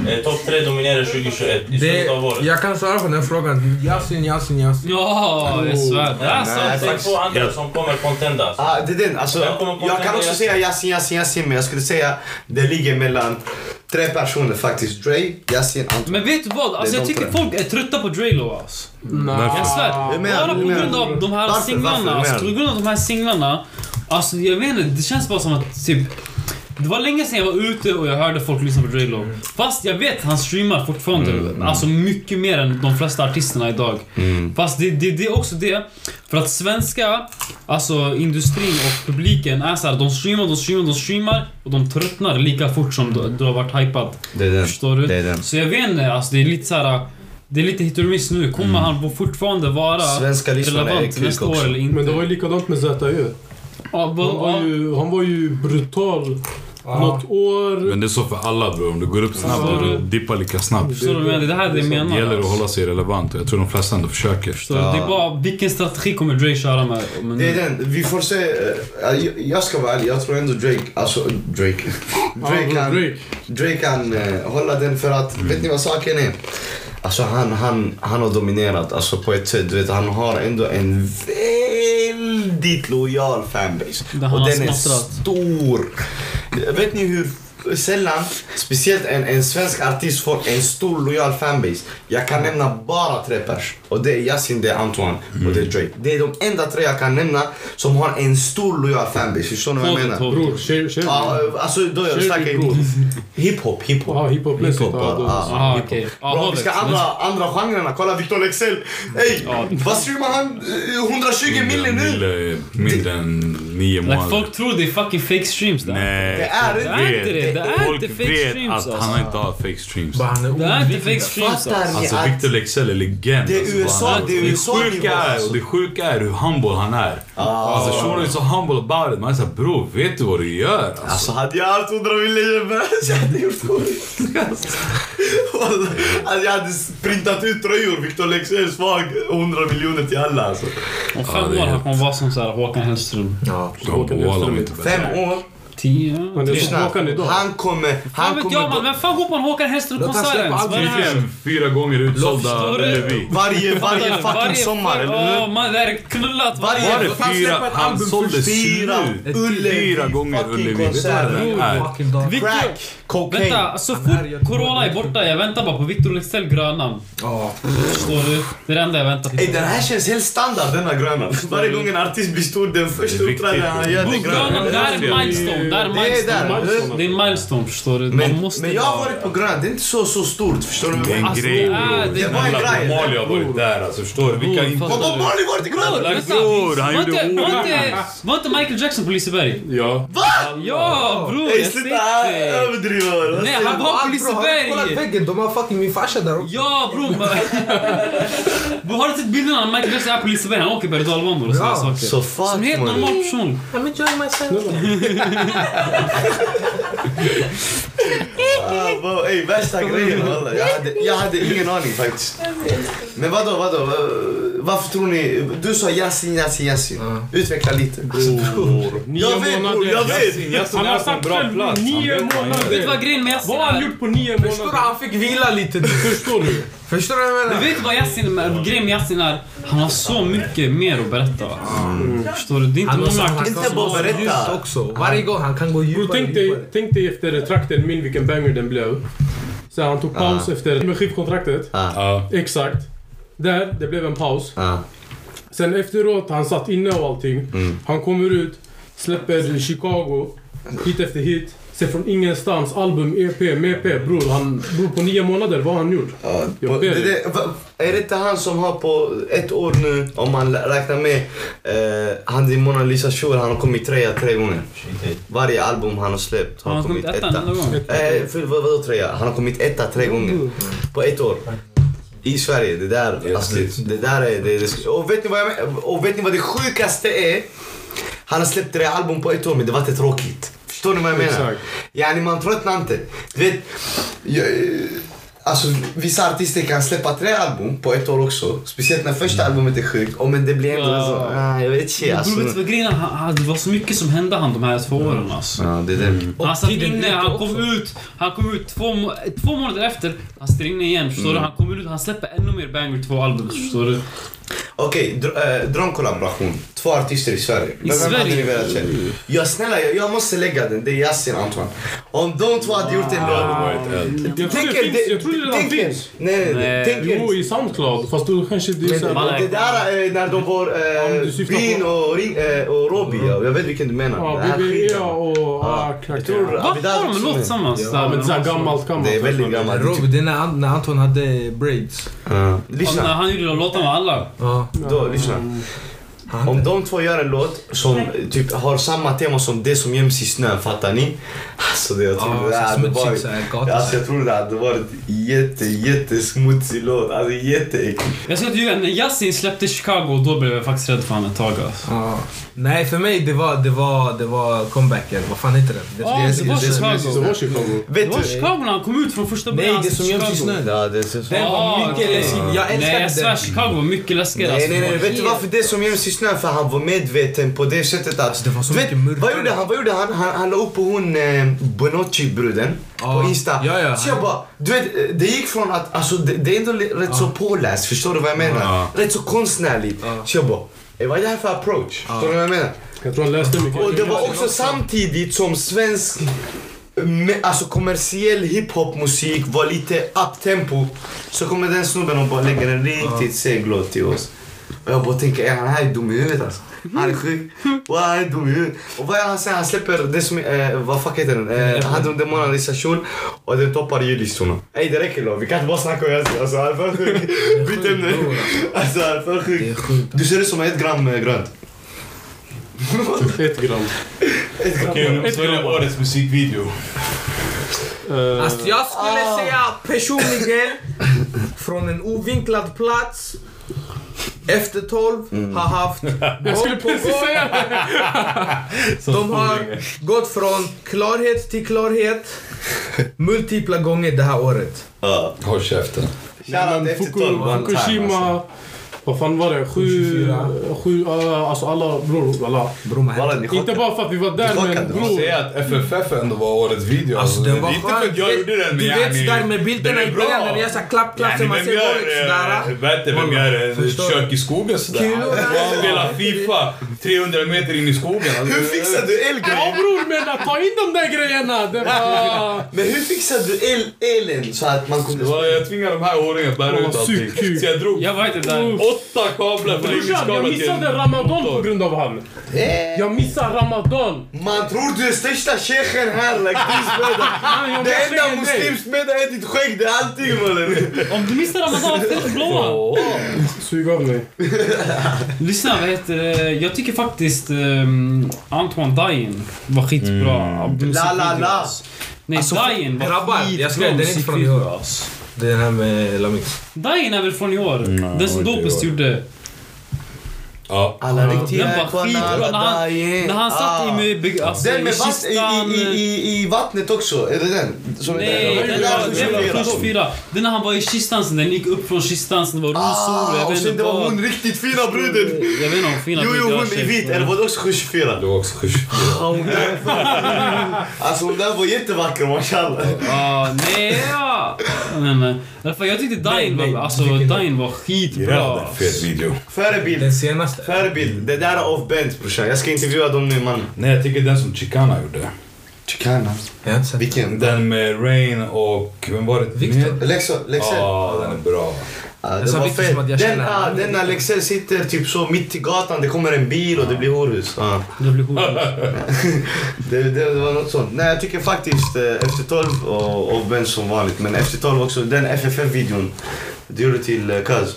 [SPEAKER 8] Eh, Topp tre dominerar 2021 i
[SPEAKER 4] Det,
[SPEAKER 8] slutet av året.
[SPEAKER 4] jag kan svara på den frågan. Yasin, Yasin, Yasin.
[SPEAKER 2] Ja, jag svär. Det är
[SPEAKER 3] Oh, Nej,
[SPEAKER 2] sant.
[SPEAKER 8] Alltså, Det är
[SPEAKER 3] faktiskt.
[SPEAKER 8] två andra som kommer contenda.
[SPEAKER 3] *laughs* Ah, det är den. Alltså,
[SPEAKER 8] Vem kommer på
[SPEAKER 3] jag kan
[SPEAKER 8] den
[SPEAKER 3] också
[SPEAKER 8] där?
[SPEAKER 3] säga Yasin, Yasin, Yasin. Men jag skulle säga det ligger mellan tre personer faktiskt. Dre, Yasin, Anton.
[SPEAKER 2] Men vet du vad? Alltså,
[SPEAKER 3] Det är
[SPEAKER 2] jag
[SPEAKER 3] de
[SPEAKER 2] tycker
[SPEAKER 3] tre.
[SPEAKER 2] folk är trötta på Drelo alltså.
[SPEAKER 4] Nej.
[SPEAKER 2] Jag svär.
[SPEAKER 3] Hur
[SPEAKER 2] Bara
[SPEAKER 3] menar du?
[SPEAKER 2] på
[SPEAKER 3] Hur menar
[SPEAKER 2] grund
[SPEAKER 3] du?
[SPEAKER 2] av de här
[SPEAKER 3] Varför? Varför?
[SPEAKER 2] singlarna.
[SPEAKER 3] Hur
[SPEAKER 2] Alltså,
[SPEAKER 3] menar du?
[SPEAKER 2] på grund av de här singlarna. Alltså jag vet inte, det känns bara som att typ... Det var länge sedan jag var ute och jag hörde folk lyssna på Drelo. Fast jag vet, han streamar fortfarande.
[SPEAKER 3] Mm,
[SPEAKER 2] Alltså mycket mer än de flesta artisterna idag.
[SPEAKER 3] Mm.
[SPEAKER 2] Fast det, det, det är också det. För att svenska, alltså industrin och publiken är såhär, de streamar, de streamar, de streamar. Och de tröttnar lika fort som du, du har varit hypad.
[SPEAKER 3] Det är den.
[SPEAKER 2] Förstår du?
[SPEAKER 3] Det är den.
[SPEAKER 2] Så jag vet inte, alltså det är lite så här. Det är lite hit och miss nu. Kommer han fortfarande vara
[SPEAKER 3] Mm. Svenska lyssnare är
[SPEAKER 2] relevant
[SPEAKER 3] kuk
[SPEAKER 2] nästa
[SPEAKER 3] också.
[SPEAKER 2] år eller inte?
[SPEAKER 6] Men det var ju likadant med ZÖ.
[SPEAKER 2] Ja,
[SPEAKER 6] Han
[SPEAKER 2] va-
[SPEAKER 6] var
[SPEAKER 2] ja.
[SPEAKER 6] ju, han var ju brutal något år.
[SPEAKER 5] Men det är så för alla bror. Om du går upp snabbt,
[SPEAKER 2] Alltså-
[SPEAKER 5] du dippar lika snabbt.
[SPEAKER 2] Förstår du vad jag menar? Det är det här det jag
[SPEAKER 5] Det
[SPEAKER 2] menar.
[SPEAKER 5] gäller att hålla sig relevant och jag tror de flesta ändå försöker.
[SPEAKER 2] Förstår du? Det är bara, vilken strategi kommer Dre köra med? Men,
[SPEAKER 3] Det är den. Vi får se. eh, jag- Jag ska vara ärlig. Jag tror ändå Drake, alltså Drake. Drake
[SPEAKER 6] Ja,
[SPEAKER 3] kan, Drake kan eh, hålla den för att, vet ni vad saken är? Alltså han, han, han har dominerat alltså på ett sätt. Du vet, han har ändå en väldigt lojal fanbase.
[SPEAKER 2] Det han
[SPEAKER 3] och
[SPEAKER 2] har
[SPEAKER 3] den är
[SPEAKER 2] smattrat.
[SPEAKER 3] stor. Vet ni hur sällan, speciellt en, en svensk artist får en stor lojal fanbase. Jag kan nämna bara tre pers. Och det är Yasin, det är Antoine och det är Drake. Det är de enda tre jag kan nämna som har en stor lojal fanbase. Förstår ni vad jag
[SPEAKER 2] Håll det,
[SPEAKER 3] menar?
[SPEAKER 2] håll det.
[SPEAKER 6] Bror, tjej, tjej.
[SPEAKER 3] Ja, alltså då jag snackar
[SPEAKER 6] Kör vi, bror.
[SPEAKER 3] hiphop. Hiphop, hiphop.
[SPEAKER 6] Ja, hiphopmässigt.
[SPEAKER 3] Hiphop,
[SPEAKER 6] ja, då-
[SPEAKER 3] ja.
[SPEAKER 2] Aha, Ah, okej. Ja,
[SPEAKER 3] Bra,
[SPEAKER 2] håll
[SPEAKER 3] vi ska
[SPEAKER 2] det.
[SPEAKER 3] andra, andra genrerna. Kolla Victor Leksell. Ey,
[SPEAKER 2] Ja.
[SPEAKER 3] vad streamar han? Eh, 120 miljoner nu?
[SPEAKER 5] Mille är mindre än nio
[SPEAKER 2] Like,
[SPEAKER 5] månader.
[SPEAKER 2] folk tror det är fucking fake streams där.
[SPEAKER 5] Nej.
[SPEAKER 3] Det är
[SPEAKER 2] Det är inte det. Det är
[SPEAKER 5] Folk
[SPEAKER 2] inte fake
[SPEAKER 5] vet
[SPEAKER 2] streams
[SPEAKER 5] att
[SPEAKER 2] alltså.
[SPEAKER 5] han inte har fake streams.
[SPEAKER 7] Bara han är
[SPEAKER 2] Det är inte fake
[SPEAKER 7] oundviklig.
[SPEAKER 2] streams
[SPEAKER 3] Fattar
[SPEAKER 2] alltså.
[SPEAKER 3] ni
[SPEAKER 5] Alltså
[SPEAKER 3] att...
[SPEAKER 5] Victor Leksell är legend.
[SPEAKER 3] Det är
[SPEAKER 5] alltså, vad
[SPEAKER 3] USA,
[SPEAKER 5] han
[SPEAKER 3] det är USA
[SPEAKER 5] Det sjuka
[SPEAKER 3] nivå,
[SPEAKER 5] är,
[SPEAKER 3] alltså.
[SPEAKER 5] och det sjuka är hur humble han är. Alltså Shunon är så humble about it. Man är såhär, bror vet du vad du gör? Alltså,
[SPEAKER 3] Alltså hade jag haft 100 miljoner *laughs* bärs, jag hade gjort podcast. Wallah, alltså, jag hade printat ut tröjor. Victor Leksell svag. 100 miljoner till alla alltså.
[SPEAKER 2] Om
[SPEAKER 5] Ja,
[SPEAKER 2] fem
[SPEAKER 5] det är
[SPEAKER 2] år
[SPEAKER 5] helt-
[SPEAKER 2] kommer vara som så här Håkan Hellström.
[SPEAKER 7] Ja.
[SPEAKER 5] de
[SPEAKER 6] Håkan
[SPEAKER 5] båda
[SPEAKER 6] Hellström.
[SPEAKER 5] är inte bättre.
[SPEAKER 3] Fem år.
[SPEAKER 2] 10?
[SPEAKER 6] Men det är som
[SPEAKER 3] Lyssna,
[SPEAKER 6] Håkan idag.
[SPEAKER 3] han kommer...
[SPEAKER 2] Vad
[SPEAKER 3] Han
[SPEAKER 2] vet jag man?
[SPEAKER 3] kommer
[SPEAKER 2] Vem fan går på en Håkan
[SPEAKER 4] Låt han
[SPEAKER 2] Hellström-konsert
[SPEAKER 4] släppa
[SPEAKER 2] ens?
[SPEAKER 4] allt
[SPEAKER 2] Vad är det här?
[SPEAKER 1] Tydligen fyra gånger utsålda
[SPEAKER 2] Loft-
[SPEAKER 1] Levi.
[SPEAKER 3] varje, varje fucking sommar, eller
[SPEAKER 2] Ja,
[SPEAKER 3] hur?
[SPEAKER 2] man är knullat.
[SPEAKER 3] Varje-
[SPEAKER 1] Var det
[SPEAKER 4] Låt han släppa
[SPEAKER 1] fyra?
[SPEAKER 4] ett
[SPEAKER 1] Han
[SPEAKER 4] album
[SPEAKER 1] sålde
[SPEAKER 4] först.
[SPEAKER 1] slut.
[SPEAKER 3] Fyra Ullevi
[SPEAKER 1] Fyra gånger
[SPEAKER 3] fucking
[SPEAKER 1] Ullevi. Det är
[SPEAKER 3] konserter.
[SPEAKER 1] där den är.
[SPEAKER 4] Fucking dag.
[SPEAKER 2] Victor-
[SPEAKER 3] Crack, cocaine.
[SPEAKER 2] Vänta, så fort corona är borta, jag väntar bara på Victor Leksell gröna.
[SPEAKER 4] Ja.
[SPEAKER 2] Förstår du? Det är det enda jag väntar på.
[SPEAKER 3] Ey den här känns helt standard denna
[SPEAKER 1] *laughs*
[SPEAKER 3] gröna. Varje gång en artist blir stor, den första
[SPEAKER 1] viktigt.
[SPEAKER 3] uppträdandet han gör, det är
[SPEAKER 2] Bull gröna,
[SPEAKER 3] gröna.
[SPEAKER 2] det här är en milestone. Det här är en
[SPEAKER 3] Det är
[SPEAKER 2] milestone.
[SPEAKER 3] där.
[SPEAKER 6] Milestone.
[SPEAKER 2] Det är en milestone, förstår du? Man
[SPEAKER 3] Men,
[SPEAKER 2] måste
[SPEAKER 3] men jag har
[SPEAKER 2] vara-
[SPEAKER 3] varit på gröna, det är inte så, så stort. Förstår du?
[SPEAKER 1] Det är en
[SPEAKER 2] Alltså,
[SPEAKER 1] grej
[SPEAKER 2] det är-
[SPEAKER 1] bror.
[SPEAKER 2] det
[SPEAKER 1] Jävla
[SPEAKER 2] är-
[SPEAKER 3] det är-
[SPEAKER 1] Mali har varit där alltså. Förstår du? Vilka
[SPEAKER 2] Bror,
[SPEAKER 1] inte...
[SPEAKER 2] fast-
[SPEAKER 3] Vadå, har ni varit i gröna?
[SPEAKER 2] Vänta,
[SPEAKER 1] Bror, han
[SPEAKER 2] var
[SPEAKER 1] gjorde
[SPEAKER 2] inte- var
[SPEAKER 1] ord.
[SPEAKER 2] inte- Var inte Michael Jackson på Liseberg?
[SPEAKER 1] Ja.
[SPEAKER 2] Ja, bror!
[SPEAKER 3] Ey
[SPEAKER 2] Jag
[SPEAKER 3] sluta
[SPEAKER 2] ser dig.
[SPEAKER 3] överdriva.
[SPEAKER 2] Nej, han var på
[SPEAKER 4] Allt bra, har du kollat
[SPEAKER 2] Liseberg!
[SPEAKER 4] väggen? De har fucking min farsa där också.
[SPEAKER 2] Ja bror! men- *laughs* Bror, Har du sett bilderna när Michael Jackson är på Liseberg? Han åker berg och dalbanor och sådana
[SPEAKER 4] Ja.
[SPEAKER 2] saker.
[SPEAKER 3] Så fuck
[SPEAKER 2] Som helt
[SPEAKER 3] man.
[SPEAKER 2] normal person.
[SPEAKER 4] I'm enjoying myself.
[SPEAKER 3] Ah, wow, Ey värsta grejen walla. Jag hade, jag hade ingen aning faktiskt. Men vadå, vadå? eh, Varför tror ni... Du sa Yasin, Yasin, Yasin. Utveckla lite. *laughs* Jag vet bror, jag vet!
[SPEAKER 1] Jasson är på en bra plats. Han
[SPEAKER 6] nio
[SPEAKER 1] vet vad han gör.
[SPEAKER 2] Vet du
[SPEAKER 6] månader.
[SPEAKER 2] vad grejen med Yasin
[SPEAKER 6] Vad har han
[SPEAKER 2] är?
[SPEAKER 6] gjort på nio
[SPEAKER 4] Förstår du?
[SPEAKER 6] månader?
[SPEAKER 4] Han fick vila lite.
[SPEAKER 6] Förstår du?
[SPEAKER 4] Förstår du vad
[SPEAKER 2] Men
[SPEAKER 4] jag menar?
[SPEAKER 2] vet du vad Yasin är? Grejen med Yasin är, han har så mycket mer att berätta. Förstår du? Det är inte
[SPEAKER 4] Mm. Han har
[SPEAKER 2] många
[SPEAKER 4] sagt
[SPEAKER 2] artister.
[SPEAKER 4] att
[SPEAKER 3] Inte bara
[SPEAKER 4] han
[SPEAKER 3] berätta.
[SPEAKER 4] också. Varje gång han kan gå
[SPEAKER 6] Bro,
[SPEAKER 4] djupare.
[SPEAKER 6] tänk, dig,
[SPEAKER 4] djupare.
[SPEAKER 6] tänk dig efter trakten min vilken banger den blev. Så han tog paus efter med skivkontraktet.
[SPEAKER 1] Ja.
[SPEAKER 6] Exakt. Där, det blev en paus.
[SPEAKER 3] Ah.
[SPEAKER 6] Sen efteråt, han satt inne och allting. Han kommer ut, släpper Chicago, hit efter hit. Sen från ingenstans, album, E EP, MEP. Bror, han, bror på nio månader, vad har han gjort?
[SPEAKER 3] Ja,
[SPEAKER 6] Jag
[SPEAKER 3] det,
[SPEAKER 6] ber dig.
[SPEAKER 3] det, va- är det inte han som har på ett år nu, om man lä- räknar med, eh, han i Mona Lisa Shore, han har kommit trea tre gånger. Varje album han har släppt har
[SPEAKER 2] Han har
[SPEAKER 3] kommit
[SPEAKER 2] kommit etta
[SPEAKER 3] etta.
[SPEAKER 2] en
[SPEAKER 4] Alltså-
[SPEAKER 2] gång.
[SPEAKER 3] Eh, för, vad, vadå trea? Han har kommit etta tre
[SPEAKER 2] Mm.
[SPEAKER 3] gånger. På ett år. I Sverige, det där, alltså, det, det där är... Det, det, och, vet ni vad jag, men- och vet ni vad det sjukaste är? Han har släppt tre album på ett år men det var inte tråkigt. Förstår ni vad jag menar?
[SPEAKER 6] Exakt.
[SPEAKER 3] Yani man tröttnar inte. Du vet, jag, eh, alltså, vissa artister kan släppa tre album på ett år också. Speciellt när första albumet är sjukt. Och men det blir ändå
[SPEAKER 2] Mm. Ja.
[SPEAKER 3] så, ah, jag vet inte.
[SPEAKER 2] Bror
[SPEAKER 3] Alltså.
[SPEAKER 2] vet du vad grejen är? Han- han- Det var så mycket som hände han de här
[SPEAKER 4] Mm.
[SPEAKER 2] två åren alltså.
[SPEAKER 3] Ja, det är det.
[SPEAKER 2] Han satt inne, han kom ut, han kom ut två, må- två månader efter, han sitter inne igen förstår
[SPEAKER 4] Mm.
[SPEAKER 2] du? Han kommer ut, han släpper ännu mer banger två album förstår du?
[SPEAKER 3] Okej, dr- äh, drömkollaboration. Två artister i Sverige.
[SPEAKER 2] I
[SPEAKER 3] Men vem hade
[SPEAKER 2] Sverige?
[SPEAKER 3] ni velat se? Ja, snälla, jag, jag måste lägga den. Det är Yasin Antoine. Om de två hade gjort en låt.
[SPEAKER 6] Jag tror det finns, jag tror det redan
[SPEAKER 3] tänk er-
[SPEAKER 6] finns.
[SPEAKER 3] Nej, nej, nej.
[SPEAKER 2] Nej.
[SPEAKER 3] Tänk er-
[SPEAKER 6] Jo, i Soundcloud. Fast då kanske det är
[SPEAKER 3] Men
[SPEAKER 6] så här-
[SPEAKER 2] Man-
[SPEAKER 3] det där eh, när de var
[SPEAKER 6] Om
[SPEAKER 3] eh,
[SPEAKER 6] du syftar
[SPEAKER 3] Bin
[SPEAKER 6] på-
[SPEAKER 3] och, Ring, eh, och Robbie, ja. jag vet vilken du menar.
[SPEAKER 6] Ja,
[SPEAKER 3] Det här skiten.
[SPEAKER 6] BBE och...
[SPEAKER 3] Ja.
[SPEAKER 6] Ah, knark.
[SPEAKER 3] Jag tror-
[SPEAKER 2] Va?
[SPEAKER 3] Abidal
[SPEAKER 2] Har de en
[SPEAKER 3] också
[SPEAKER 2] låt
[SPEAKER 3] med.
[SPEAKER 2] tillsammans?
[SPEAKER 6] Ja,
[SPEAKER 2] där?
[SPEAKER 6] men såhär gammalt, gammalt.
[SPEAKER 3] Det är väldigt Typ- gammalt.
[SPEAKER 4] Robby, det är när Ant- när Anton hade braids.
[SPEAKER 2] Ja,
[SPEAKER 3] Ja.
[SPEAKER 2] när
[SPEAKER 3] Eh, Lyssna,
[SPEAKER 2] Han gjorde låtar med alla.
[SPEAKER 4] Ja.
[SPEAKER 3] då, lyssna. Om de två gör en låt som eh, typ har samma tema som det som göms i snön, fattar ni? Alltså det, jag tror det
[SPEAKER 4] Ja,
[SPEAKER 3] där
[SPEAKER 4] så
[SPEAKER 3] hade
[SPEAKER 4] smutsigt
[SPEAKER 3] varit...
[SPEAKER 4] såhär.
[SPEAKER 3] Alltså
[SPEAKER 4] Gatan.
[SPEAKER 3] jag tror det hade varit jätte, jättesmutsig låt. Alltså jätteäcklig.
[SPEAKER 2] Jag ska inte ljuga, när Yasin släppte Chicago då blev jag faktiskt rädd för honom ett tag alltså.
[SPEAKER 4] Ja. Nej, för mig det var, det var, det var comebacken. Vad fan heter den? Det,
[SPEAKER 2] Ja, det var
[SPEAKER 6] Det
[SPEAKER 2] Chicago.
[SPEAKER 6] var Chicago.
[SPEAKER 2] Det
[SPEAKER 3] Vet
[SPEAKER 2] var
[SPEAKER 3] du?
[SPEAKER 2] Chicago när han kom ut från första
[SPEAKER 4] Nej,
[SPEAKER 2] början.
[SPEAKER 4] det som göms i snön.
[SPEAKER 3] Ja, det ser så.
[SPEAKER 4] Den var
[SPEAKER 2] Ah,
[SPEAKER 4] mycket
[SPEAKER 2] okej.
[SPEAKER 4] läskig. Jag
[SPEAKER 2] Nej, jag
[SPEAKER 4] älskade
[SPEAKER 2] svär
[SPEAKER 4] den.
[SPEAKER 2] Chicago var mycket läskigare.
[SPEAKER 3] Nej,
[SPEAKER 2] alltså.
[SPEAKER 3] nej, nej. Vet du varför det som göms i snön? För han var medveten på det sättet att...
[SPEAKER 4] Alltså, det var så
[SPEAKER 3] vet,
[SPEAKER 4] mycket mörkare.
[SPEAKER 3] Vad gjorde han? Vad gjorde han? Han, han la upp på hon eh, Bonocci-bruden
[SPEAKER 4] Ja.
[SPEAKER 3] på Insta.
[SPEAKER 4] Ja, ja.
[SPEAKER 3] så jag bara, du vet, eh, det gick från att... Alltså, det, det är ändå li- rätt så påläst, förstår du vad jag menar? Rätt så konstnärligt. Så jag bara, eh, vad är det här för approach? Förstår du vad jag menar?
[SPEAKER 6] Jag tror han läste mycket.
[SPEAKER 3] Och det var också samtidigt som svensk me- Alltså kommersiell hiphopmusik var lite uptempo Så kommer den snubben och bara lägger en riktigt seg låt till oss Och jag bara tänker, är han här är dum i huvudet alltså? Han är sjuk, Wow, han är dum i huvudet Och vad är han säger? Han släpper det som, är- eh, vad fuck heter den? Eh, han under Mona Lisa kjol Och den toppar jullistorna Ey det räcker då, vi kan inte bara snacka om Yasin Alltså han är för
[SPEAKER 6] *laughs*
[SPEAKER 3] sjuk, byt ämne Alltså han är för
[SPEAKER 4] Det är
[SPEAKER 3] sjuk
[SPEAKER 4] sjukt.
[SPEAKER 3] Du ser ut som ett gram eh, grönt
[SPEAKER 6] Ett gram.
[SPEAKER 3] Ett gram
[SPEAKER 1] Okej, nu är det årets musikvideo.
[SPEAKER 6] Eh,
[SPEAKER 4] Alltså, jag skulle säga personligen, från en ovinklad plats, efter 12,
[SPEAKER 5] Mm.
[SPEAKER 4] har
[SPEAKER 5] *laughs*
[SPEAKER 4] haft
[SPEAKER 6] Jag skulle
[SPEAKER 4] gång på
[SPEAKER 6] precis
[SPEAKER 4] gång.
[SPEAKER 6] säga
[SPEAKER 4] *laughs*
[SPEAKER 6] det.
[SPEAKER 4] De har gått från klarhet till klarhet multipla gånger det här året.
[SPEAKER 3] Ja.
[SPEAKER 5] Håll käften.
[SPEAKER 3] Shoutout efter 12 one time, alltså.
[SPEAKER 6] Fukushima Vad fan var det? Sju...
[SPEAKER 9] 24.
[SPEAKER 6] Sju... Uh, alltså alla bror. Alla.
[SPEAKER 7] Bror, man
[SPEAKER 3] Walla, ni
[SPEAKER 6] Inte
[SPEAKER 3] chockade.
[SPEAKER 6] bara för att vi var där
[SPEAKER 3] Chockad,
[SPEAKER 6] men
[SPEAKER 3] va?
[SPEAKER 6] bror.
[SPEAKER 5] Säga att FFF ändå var årets video.
[SPEAKER 9] Alltså, den var
[SPEAKER 5] inte
[SPEAKER 9] skön.
[SPEAKER 5] för att jag gjorde den, men
[SPEAKER 4] Du vet
[SPEAKER 5] yani,
[SPEAKER 4] sådär med bilderna
[SPEAKER 5] den
[SPEAKER 4] i
[SPEAKER 5] är bra.
[SPEAKER 4] början när det är såhär klapp, klapp, så
[SPEAKER 5] Yani,
[SPEAKER 4] man
[SPEAKER 5] vem
[SPEAKER 4] ser folk
[SPEAKER 5] gör,
[SPEAKER 4] sådär.
[SPEAKER 5] eh, vet du, vem gör eh,
[SPEAKER 9] Förstår du?
[SPEAKER 5] kök i skogen sådär?
[SPEAKER 4] Kulor,
[SPEAKER 5] Han spelar FIFA 300 meter in i skogen. Alltså,
[SPEAKER 3] Hur fixade du
[SPEAKER 6] Ja
[SPEAKER 3] elgrejen?
[SPEAKER 6] bror men ta in de där grejerna. Det var...
[SPEAKER 3] Men hur fixade du el elen så att man kunde...
[SPEAKER 5] det var- Jag tvingade de här åringarna att bära
[SPEAKER 6] Åh,
[SPEAKER 5] ut allting.
[SPEAKER 6] superkul.
[SPEAKER 5] Så jag drog
[SPEAKER 2] Jag var inte där.
[SPEAKER 5] åtta kablar
[SPEAKER 6] Brorsan, jag
[SPEAKER 5] förlängningskablar till
[SPEAKER 6] missade Ramadan på grund av han.
[SPEAKER 3] Eh,
[SPEAKER 6] Jag missade Ramadan.
[SPEAKER 3] Man tror du är största shechen här, like this
[SPEAKER 6] Ah,
[SPEAKER 3] brother. Det enda muslimsmedel är ditt skägg, det är allting mannen.
[SPEAKER 2] Om du missar Ramadan, ställ dig blåa.
[SPEAKER 6] Sug av mig.
[SPEAKER 2] Lyssna, vad heter det? Jag tycker faktiskt ehm, Antoine Dayen var skitbra.
[SPEAKER 3] La, la, la.
[SPEAKER 2] Nej,
[SPEAKER 9] Alltså,
[SPEAKER 2] Dayen var
[SPEAKER 9] Grabbar, jag ska den är inte från i år alltså. Det är den här med Lamix.
[SPEAKER 2] Dayen är väl från i år? den som
[SPEAKER 5] inte i
[SPEAKER 2] Dopest
[SPEAKER 5] år.
[SPEAKER 2] gjorde.
[SPEAKER 5] Ja.
[SPEAKER 3] Alla
[SPEAKER 2] Den
[SPEAKER 3] riktiga
[SPEAKER 2] var skitbra. När han, när han satt i med, beg- alltså,
[SPEAKER 3] Ah. Den
[SPEAKER 2] i
[SPEAKER 3] med vatten, i,
[SPEAKER 2] kistan.
[SPEAKER 3] i, i, i vattnet också, är det den? Som
[SPEAKER 2] Nej,
[SPEAKER 3] är
[SPEAKER 2] den var, den var kurs fyra. Den när han var i kistan sen, den gick upp från kistan sen, det var rosor.
[SPEAKER 3] Ah,
[SPEAKER 2] jag
[SPEAKER 3] och
[SPEAKER 2] vet
[SPEAKER 3] sen
[SPEAKER 2] inte
[SPEAKER 3] det var
[SPEAKER 2] vad.
[SPEAKER 3] hon riktigt fina bruden.
[SPEAKER 2] Jag vet inte om fina
[SPEAKER 3] Jo, jo,
[SPEAKER 2] bilder
[SPEAKER 3] hon
[SPEAKER 2] har
[SPEAKER 3] i
[SPEAKER 2] sett,
[SPEAKER 3] vit,
[SPEAKER 2] men-
[SPEAKER 3] eller var det också 24?
[SPEAKER 5] Det var också
[SPEAKER 3] *laughs* Alltså hon där var jättevacker, mashallah.
[SPEAKER 2] Ja, Ah, nej, ja. Men, eh, i alla fall, jag tyckte Dain
[SPEAKER 9] nej,
[SPEAKER 2] var, alltså,
[SPEAKER 9] vilken-
[SPEAKER 2] Dain var skitbra.
[SPEAKER 5] Jävla fet video.
[SPEAKER 3] Förebild,
[SPEAKER 9] Den senaste.
[SPEAKER 3] förebild. Det där är off-band brorsan. Jag ska intervjua dem nu mannen.
[SPEAKER 5] Nej, jag tycker den som Chicana gjorde.
[SPEAKER 3] Chicana.
[SPEAKER 9] Jag har inte sett.
[SPEAKER 3] Vilken?
[SPEAKER 5] Den med Rain och... Vem var det?
[SPEAKER 9] Victor.
[SPEAKER 5] Med?
[SPEAKER 3] Lexell? Lexell?
[SPEAKER 5] Ja, den är bra.
[SPEAKER 3] Ah,
[SPEAKER 9] Jag
[SPEAKER 3] det
[SPEAKER 9] sa
[SPEAKER 3] var
[SPEAKER 9] Victor
[SPEAKER 3] fett.
[SPEAKER 9] som att jag
[SPEAKER 3] Den,
[SPEAKER 9] känner
[SPEAKER 3] ah,
[SPEAKER 9] honom.
[SPEAKER 3] den när Lexell sitter typ så mitt i gatan, det kommer en bil och det blir horhus. Ah.
[SPEAKER 2] Det blev sjukt.
[SPEAKER 3] Det, det, det var något sånt. Nej, jag tycker faktiskt eh, Efter 12 och, och Ben som vanligt. Men Efter 12 också, den FFF-videon du gjorde till eh, Kaz.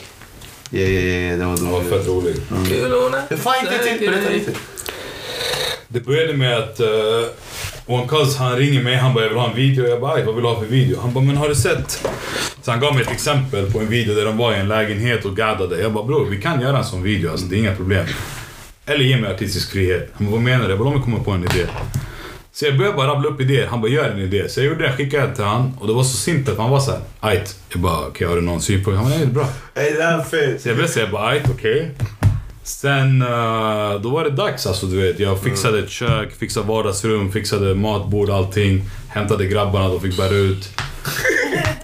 [SPEAKER 3] Ja, ja, ja, den var
[SPEAKER 5] Den var
[SPEAKER 3] dum.
[SPEAKER 5] fett rolig.
[SPEAKER 9] Kulorna.
[SPEAKER 3] Det fan inte till, berätta lite.
[SPEAKER 5] Det började med att uh, One Cuz han ringer mig, han bara jag vill ha en video. Jag bara "Aj, vad vill du ha för video? Han bara men har du sett? Så han gav mig ett exempel på en video där de var i en lägenhet och gaddade. Jag bara bror vi kan göra en sån video alltså, det är inga problem. Eller ge mig artistisk frihet. Han bara vad menar du? Jag bara låt mig komma på en idé. Så jag började bara rabbla upp idéer. Han bara gör en idé. Så jag gjorde den, skickade den till han och det var så simpelt. Han var såhär ajt. Jag bara okej har du någon synpunkt? Han bara nej det är bra.
[SPEAKER 3] Ey, Eh, det här är fett.
[SPEAKER 5] Så jag blev såhär bara, "Ajt, okej. Sen eh, då var det dags alltså du vet. Jag fixade ett kök, fixade vardagsrum, fixade matbord, allting. Hämtade grabbarna, de fick bära ut.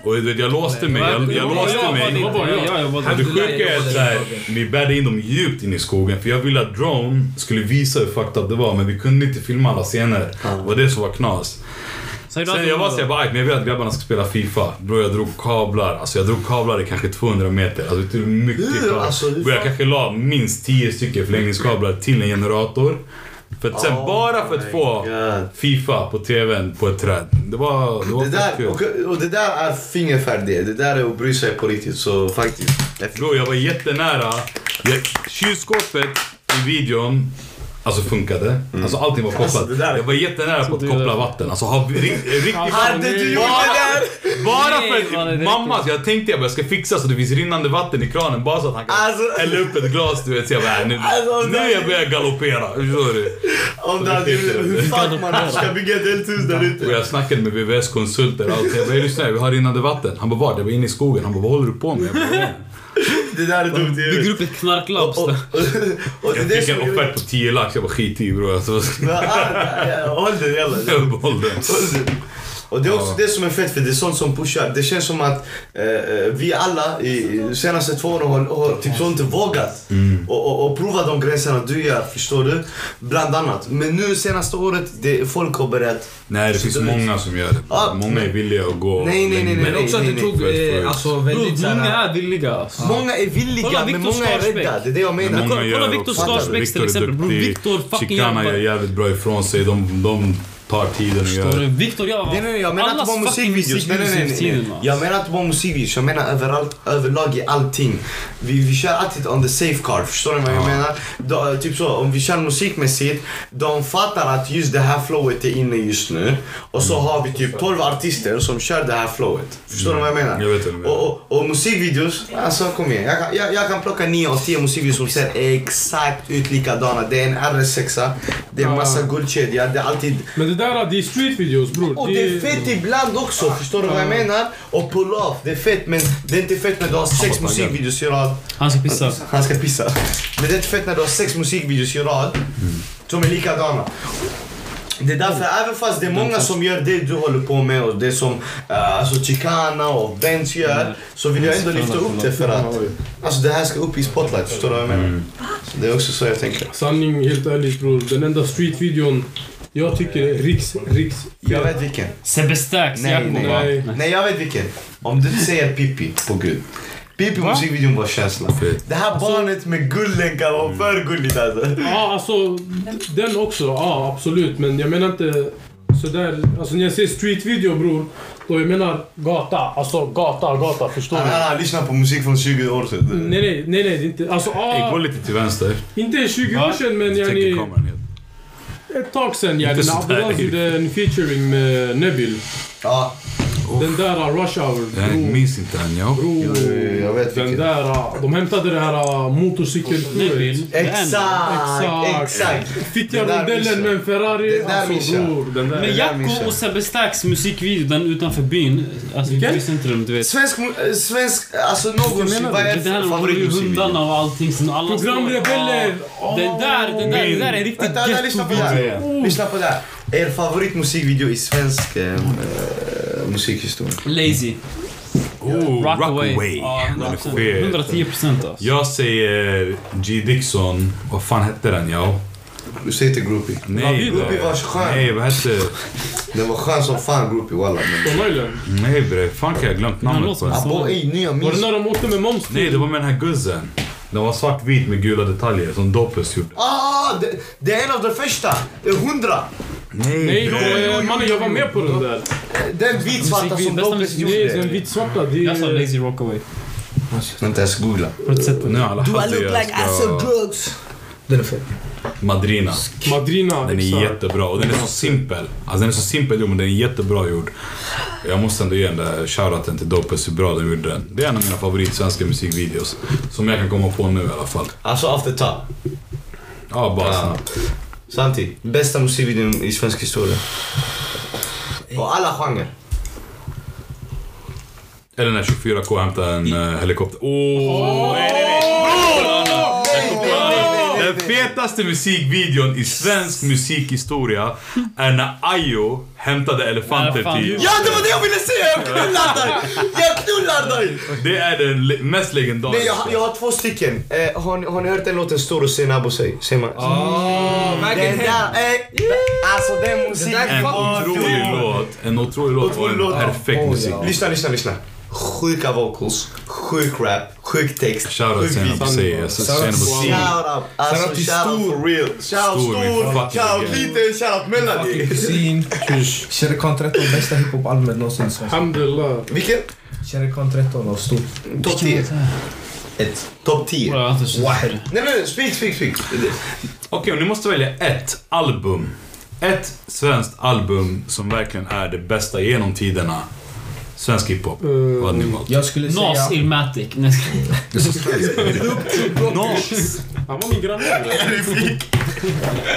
[SPEAKER 5] Och du vet, jag låste mig. Jag, jag låste mig.
[SPEAKER 2] Jag var jag. Jag var
[SPEAKER 5] Men det
[SPEAKER 2] där.
[SPEAKER 5] sjuka är att så här, vi bärde in dem djupt in i skogen för jag ville att drone skulle visa hur fucked up det var men vi kunde inte filma alla scener. Det var det som var knas.
[SPEAKER 2] Sen gjorde
[SPEAKER 5] Sen
[SPEAKER 2] han-
[SPEAKER 5] jag var såhär, jag bara, "Aj, men jag vill att grabbarna ska spela FIFA. Bror jag drog kablar. Alltså jag drog kablar i kanske 200 meter. Alltså det är mycket
[SPEAKER 3] Hur?
[SPEAKER 5] kablar.
[SPEAKER 3] Alltså, hur
[SPEAKER 5] Bror jag
[SPEAKER 3] fan?
[SPEAKER 5] kanske la minst 10 stycken förlängningskablar till en generator. För att sen
[SPEAKER 3] Oh
[SPEAKER 5] bara för
[SPEAKER 3] my
[SPEAKER 5] att få
[SPEAKER 3] God.
[SPEAKER 5] FIFA på TVn på ett träd. Det var, det var
[SPEAKER 3] Det
[SPEAKER 5] fett
[SPEAKER 3] där,
[SPEAKER 5] kul.
[SPEAKER 3] och, och det där är fingerfärdighet. Det där är att bry sig på riktigt. Så faktiskt.
[SPEAKER 5] Bror jag var jättenära. Jag, kylskåpet i videon Alltså funkade. Alltså allting var kopplat.
[SPEAKER 3] Mm. Alltså, det där-
[SPEAKER 5] jag var jättenära på att koppla vatten. Alltså ha ri- riktigt...
[SPEAKER 3] Hade du gjort det där?
[SPEAKER 5] Bara
[SPEAKER 2] Nej,
[SPEAKER 5] för
[SPEAKER 2] man, det är
[SPEAKER 5] att mamma, jag tänkte jag bara, jag ska fixa så det finns rinnande vatten i kranen bara så att han kan
[SPEAKER 3] Alltså-
[SPEAKER 5] hälla upp ett glas du vet. Så jag bara, "Äh, nu,
[SPEAKER 3] Alltså,
[SPEAKER 5] nu
[SPEAKER 3] nej.
[SPEAKER 5] jag börjar galoppera. Förstår du?
[SPEAKER 3] Om det hade gjort det. Hur fan man ska bygga ett helt hus där ute?
[SPEAKER 5] Och jag snackade med VVS-konsulter och allt. Jag bara, lyssna vi har rinnande vatten. Han bara, var? Jag var inne i skogen. Han bara, vad håller du på med? Jag,
[SPEAKER 3] *laughs*
[SPEAKER 5] bara, "Nej."
[SPEAKER 3] Det där är dumt i
[SPEAKER 2] Bygger
[SPEAKER 3] huvudet.
[SPEAKER 2] upp ett knarklabb.
[SPEAKER 3] Och, och, och det är
[SPEAKER 5] jag
[SPEAKER 3] det
[SPEAKER 5] fick
[SPEAKER 3] som
[SPEAKER 5] en
[SPEAKER 3] gör-
[SPEAKER 5] offert på 10 lax. Jag bara, skit i bror. Alltså,
[SPEAKER 3] Ja, ja, Håll
[SPEAKER 5] *laughs*
[SPEAKER 3] den, jalla.
[SPEAKER 5] jag behåll den.
[SPEAKER 3] Och det är också det som är fett, för det är sånt som pushar. Det känns som att eh, eh, vi alla i i senaste två åren har, har typ så inte vågat
[SPEAKER 5] Mm.
[SPEAKER 3] och, och, och prova de gränserna du gör, förstår du? Bland annat. Men nu senaste året, det, folk har börjat...
[SPEAKER 5] Nej, det finns
[SPEAKER 3] Så du-
[SPEAKER 5] många som gör det.
[SPEAKER 3] Ah,
[SPEAKER 5] Många är villiga att gå
[SPEAKER 3] Nej, nej, nej, nej.
[SPEAKER 5] längre.
[SPEAKER 9] Men också att
[SPEAKER 3] nej,
[SPEAKER 9] det
[SPEAKER 3] nej,
[SPEAKER 9] tog
[SPEAKER 5] nej.
[SPEAKER 9] eh, alltså
[SPEAKER 2] Bror,
[SPEAKER 9] väldigt
[SPEAKER 2] många
[SPEAKER 9] såhär...
[SPEAKER 2] är villiga alltså.
[SPEAKER 3] Många är villiga,
[SPEAKER 2] Kolla,
[SPEAKER 3] men
[SPEAKER 2] Viktor
[SPEAKER 3] många är
[SPEAKER 2] Skarsbäck.
[SPEAKER 3] rädda. Det är det jag menar.
[SPEAKER 5] Men många
[SPEAKER 2] Kolla
[SPEAKER 5] gör
[SPEAKER 2] Viktor
[SPEAKER 5] också.
[SPEAKER 2] Skarsbäcks
[SPEAKER 5] Viktor
[SPEAKER 2] till
[SPEAKER 5] är
[SPEAKER 2] exempel. Bror,
[SPEAKER 5] duktig.
[SPEAKER 2] Viktor fucking
[SPEAKER 5] Chicana gör
[SPEAKER 2] jobbar.
[SPEAKER 5] jävligt bra ifrån sig. De, de tar tiden och gör
[SPEAKER 2] Förstår du?
[SPEAKER 5] det.
[SPEAKER 2] Viktor gör
[SPEAKER 3] Nej, nej, nej, jag menar inte bara musikvideos. Nej, nej, nej, nej, nej. Jag menar inte bara musikvideos. Jag menar överallt, överlag i allting. Vi, vi kör alltid on the safe card. Förstår ni vad jag menar? Då, eh, typ så, om vi kör musikmässigt. De fattar att just det här flowet är inne just nu. Och
[SPEAKER 5] Mm.
[SPEAKER 3] så har vi typ 12 artister som kör det här flowet. Förstår ni vad jag menar?
[SPEAKER 5] Jag vet vad du menar.
[SPEAKER 3] Och, och, och musikvideos, alltså kom igen. Jag kan, jag, jag kan plocka 9 av 10 musikvideos som ser exakt ut likadana. ah. Det är en RS6. Det är massa
[SPEAKER 6] Ja.
[SPEAKER 3] guldkedja, det är alltid...
[SPEAKER 6] Men det där, det är street videos bror.
[SPEAKER 3] Och det är fett ibland också, förstår du vad jag menar? Och pull-off, det är fett men det är inte fett när du har sex musikvideos i rad.
[SPEAKER 2] Han ska pissa.
[SPEAKER 3] Han ska pissa. Men det är inte fett när du har sex musikvideos i rad som är likadana. Det är därför, även fast det är många som gör det du håller på med och det som uh, alltså Chicana och Benz gör så vill jag ändå lyfta upp det för att alltså, det här ska upp i spotlight, förstår du vad jag menar? Så det är också så jag tänker.
[SPEAKER 6] Sanning, helt ärligt bror. Den enda street-videon jag tycker är riks... riks
[SPEAKER 3] Jag vet vilken.
[SPEAKER 2] Sebbe Stax,
[SPEAKER 3] Nej,
[SPEAKER 2] Jakob.
[SPEAKER 3] nej,
[SPEAKER 2] va?
[SPEAKER 3] nej. Nej, jag vet vilken. Om du inte säger Pippi, på gud. Pippi musikvideon var känsla. Det här barnet med guldlänkar var för gulligt alltså.
[SPEAKER 6] Ja, alltså den också. Ja, absolut. Men jag menar inte sådär. Alltså när jag säger streetvideo bror, då jag menar gata. Alltså gata, gata. Förstår
[SPEAKER 3] Han
[SPEAKER 6] du?
[SPEAKER 3] har lyssnat på musik från 20 år sedan.
[SPEAKER 6] Nej, nej, nej, nej. det är Inte, alltså,
[SPEAKER 10] Hey, gå
[SPEAKER 6] ah,
[SPEAKER 10] lite till vänster.
[SPEAKER 6] inte 20 år
[SPEAKER 2] Va?
[SPEAKER 6] sedan, men
[SPEAKER 10] Tänker
[SPEAKER 6] yani,
[SPEAKER 10] kameran helt.
[SPEAKER 6] ett tag sedan. Yani,
[SPEAKER 10] Inte
[SPEAKER 6] när
[SPEAKER 10] sådär.
[SPEAKER 6] Abdullah gjorde en featuring med Nebil.
[SPEAKER 3] Ja,
[SPEAKER 6] Den där ah, Rush Hour.
[SPEAKER 10] Jag
[SPEAKER 6] Bror,
[SPEAKER 10] minns inte den. Jag.
[SPEAKER 6] bror.
[SPEAKER 3] jag vet
[SPEAKER 6] Den
[SPEAKER 3] vilken.
[SPEAKER 6] där, ah, de hämtade det här ah, motorcykelprovet.
[SPEAKER 2] Neville.
[SPEAKER 3] Exakt,
[SPEAKER 6] Exakt.
[SPEAKER 3] exakt.
[SPEAKER 6] Fittiga
[SPEAKER 3] Den där
[SPEAKER 6] rondellen
[SPEAKER 3] missar.
[SPEAKER 6] med en Ferrari.
[SPEAKER 3] Den där
[SPEAKER 6] Alltså
[SPEAKER 3] missar.
[SPEAKER 6] bror, den där.
[SPEAKER 2] Men Jacko och Sebbe Stax musikvideo, den utanför byn. Alltså i
[SPEAKER 6] Vilken?
[SPEAKER 2] turistcentrum, du vet.
[SPEAKER 3] Svensk, mu- eh, svensk, alltså någonsin. Vad är
[SPEAKER 2] Det här med
[SPEAKER 3] favoritmusikvideon?
[SPEAKER 2] hundarna och allting. som alla står-
[SPEAKER 6] Programrebeller!
[SPEAKER 2] Ja. Det där, det där, det där är riktigt
[SPEAKER 3] Vänta, vänta, lyssna på det
[SPEAKER 2] gettovideo.
[SPEAKER 3] här. Lyssna på det här. Er favoritmusikvideo i svensk eh, eh, musikhistoria?
[SPEAKER 2] Lazy.
[SPEAKER 5] Oh,
[SPEAKER 2] Rockaway.
[SPEAKER 5] Rockaway.
[SPEAKER 2] Ja,
[SPEAKER 5] Den är
[SPEAKER 2] 100%.
[SPEAKER 5] fet.
[SPEAKER 2] 110 procent alltså.
[SPEAKER 5] Jag säger G. Dixon. Vad fan hette den? Ja.
[SPEAKER 3] Du säger inte groupie.
[SPEAKER 5] Nej,
[SPEAKER 3] Groupie
[SPEAKER 5] bre.
[SPEAKER 3] var skön.
[SPEAKER 5] Nej, vad hette...
[SPEAKER 3] Den var skön som fan groupie walla. Men...
[SPEAKER 5] Nej bre, fan kan jag ha glömt
[SPEAKER 2] Han
[SPEAKER 5] namnet på
[SPEAKER 2] låter
[SPEAKER 5] den?
[SPEAKER 3] Abow,
[SPEAKER 2] så...
[SPEAKER 3] ey nya
[SPEAKER 6] Var det
[SPEAKER 3] minst.
[SPEAKER 6] när de åkte med moms
[SPEAKER 5] Nej, det var med den här guzzen. Den var svartvit med gula detaljer som Doppes gjorde.
[SPEAKER 3] Ah, det, det är en av de första. Eh, Hundra.
[SPEAKER 5] Nej,
[SPEAKER 6] Nej,
[SPEAKER 5] bre.
[SPEAKER 6] eh, mannen jag var med på den där.
[SPEAKER 3] Den vitsvarta som
[SPEAKER 2] Musikvideo,
[SPEAKER 3] Doppes
[SPEAKER 2] bästa
[SPEAKER 6] Nej, den
[SPEAKER 3] gjorde.
[SPEAKER 6] vitsvarta. Det
[SPEAKER 2] Jag sa
[SPEAKER 6] är...
[SPEAKER 2] Lazy Rockaway.
[SPEAKER 3] Vänta, jag ska googla.
[SPEAKER 2] Har du inte sett på
[SPEAKER 5] Nu
[SPEAKER 2] det?
[SPEAKER 5] har alla haft det. Jag ska...
[SPEAKER 3] drugs.
[SPEAKER 4] Den är fet.
[SPEAKER 5] Madrina.
[SPEAKER 6] Madrina,
[SPEAKER 5] Den är
[SPEAKER 6] exakt.
[SPEAKER 5] jättebra och den är så simpel. Alltså den är så simpel gjord men den är jättebra gjord. Jag måste ändå ge den där shoutouten till Doppes hur bra de gjorde den. Det är en av mina favorit svenska musikvideos. Som jag kan komma på nu i alla fall.
[SPEAKER 3] Alltså after top.
[SPEAKER 5] Ja, bara
[SPEAKER 3] Ja.
[SPEAKER 5] snabbt.
[SPEAKER 3] Santi, bästa musikvideon i svensk historia. Och alla genrer.
[SPEAKER 5] Eller när 24K hämtar en eh, helikopter. Åh! Den fetaste musikvideon i svensk musikhistoria är när Ayo hämtade elefanter
[SPEAKER 2] Ja, fan.
[SPEAKER 5] till...
[SPEAKER 3] Ja, det var det jag ville säga! Jag knullar dig! Jag knullar dig!
[SPEAKER 5] Det är den le- mest
[SPEAKER 3] Nej, jag,
[SPEAKER 5] legendariska.
[SPEAKER 3] jag har två stycken. Eh, har, ni, har ni hört den låten Stor och Sina Abo sig? Säger man? Den
[SPEAKER 11] Vägen hem.
[SPEAKER 3] där, eh, alltså den
[SPEAKER 11] Den
[SPEAKER 3] musiken
[SPEAKER 5] En
[SPEAKER 11] där
[SPEAKER 3] var
[SPEAKER 5] otrolig
[SPEAKER 3] grym.
[SPEAKER 5] låt. En otrolig låt och en
[SPEAKER 3] Otrolig låt.
[SPEAKER 5] perfekt musik.
[SPEAKER 3] Lyssna, lyssna, lyssna. Sjuka vocals, sjuk rap, sjuk text,
[SPEAKER 5] Shoutout
[SPEAKER 3] sjuk
[SPEAKER 5] till henne på
[SPEAKER 3] video.
[SPEAKER 5] C. Alltså, till henne på C.
[SPEAKER 3] Shout out. Alltså
[SPEAKER 4] Shout out till
[SPEAKER 3] shout out
[SPEAKER 4] Stor.
[SPEAKER 3] for real. Shout out
[SPEAKER 5] Stor, min
[SPEAKER 3] stor,
[SPEAKER 5] fucking
[SPEAKER 3] shout out
[SPEAKER 5] grej.
[SPEAKER 3] liten, shout out melody.
[SPEAKER 4] Kusin. Shere Khan 13, bästa hiphop-albumet någonsin i Sverige.
[SPEAKER 6] Alhamdulillah.
[SPEAKER 3] Vilken?
[SPEAKER 4] Shere Khan 13 av Stor.
[SPEAKER 3] Topp 10. Ett. Topp 10.
[SPEAKER 2] Bra, jag har inte sett det.
[SPEAKER 3] Wahed. Nej, nej, nej. Speak, speak, speak.
[SPEAKER 5] Okej, och ni måste välja ett album. Ett svenskt album som verkligen är det bästa genom tiderna. Svensk hiphop. Vad hade ni valt?
[SPEAKER 4] Jag skulle säga...
[SPEAKER 2] Nas Ilmatic. Nej, jag skojar.
[SPEAKER 6] *laughs*
[SPEAKER 5] Nas!
[SPEAKER 6] Han var min granne.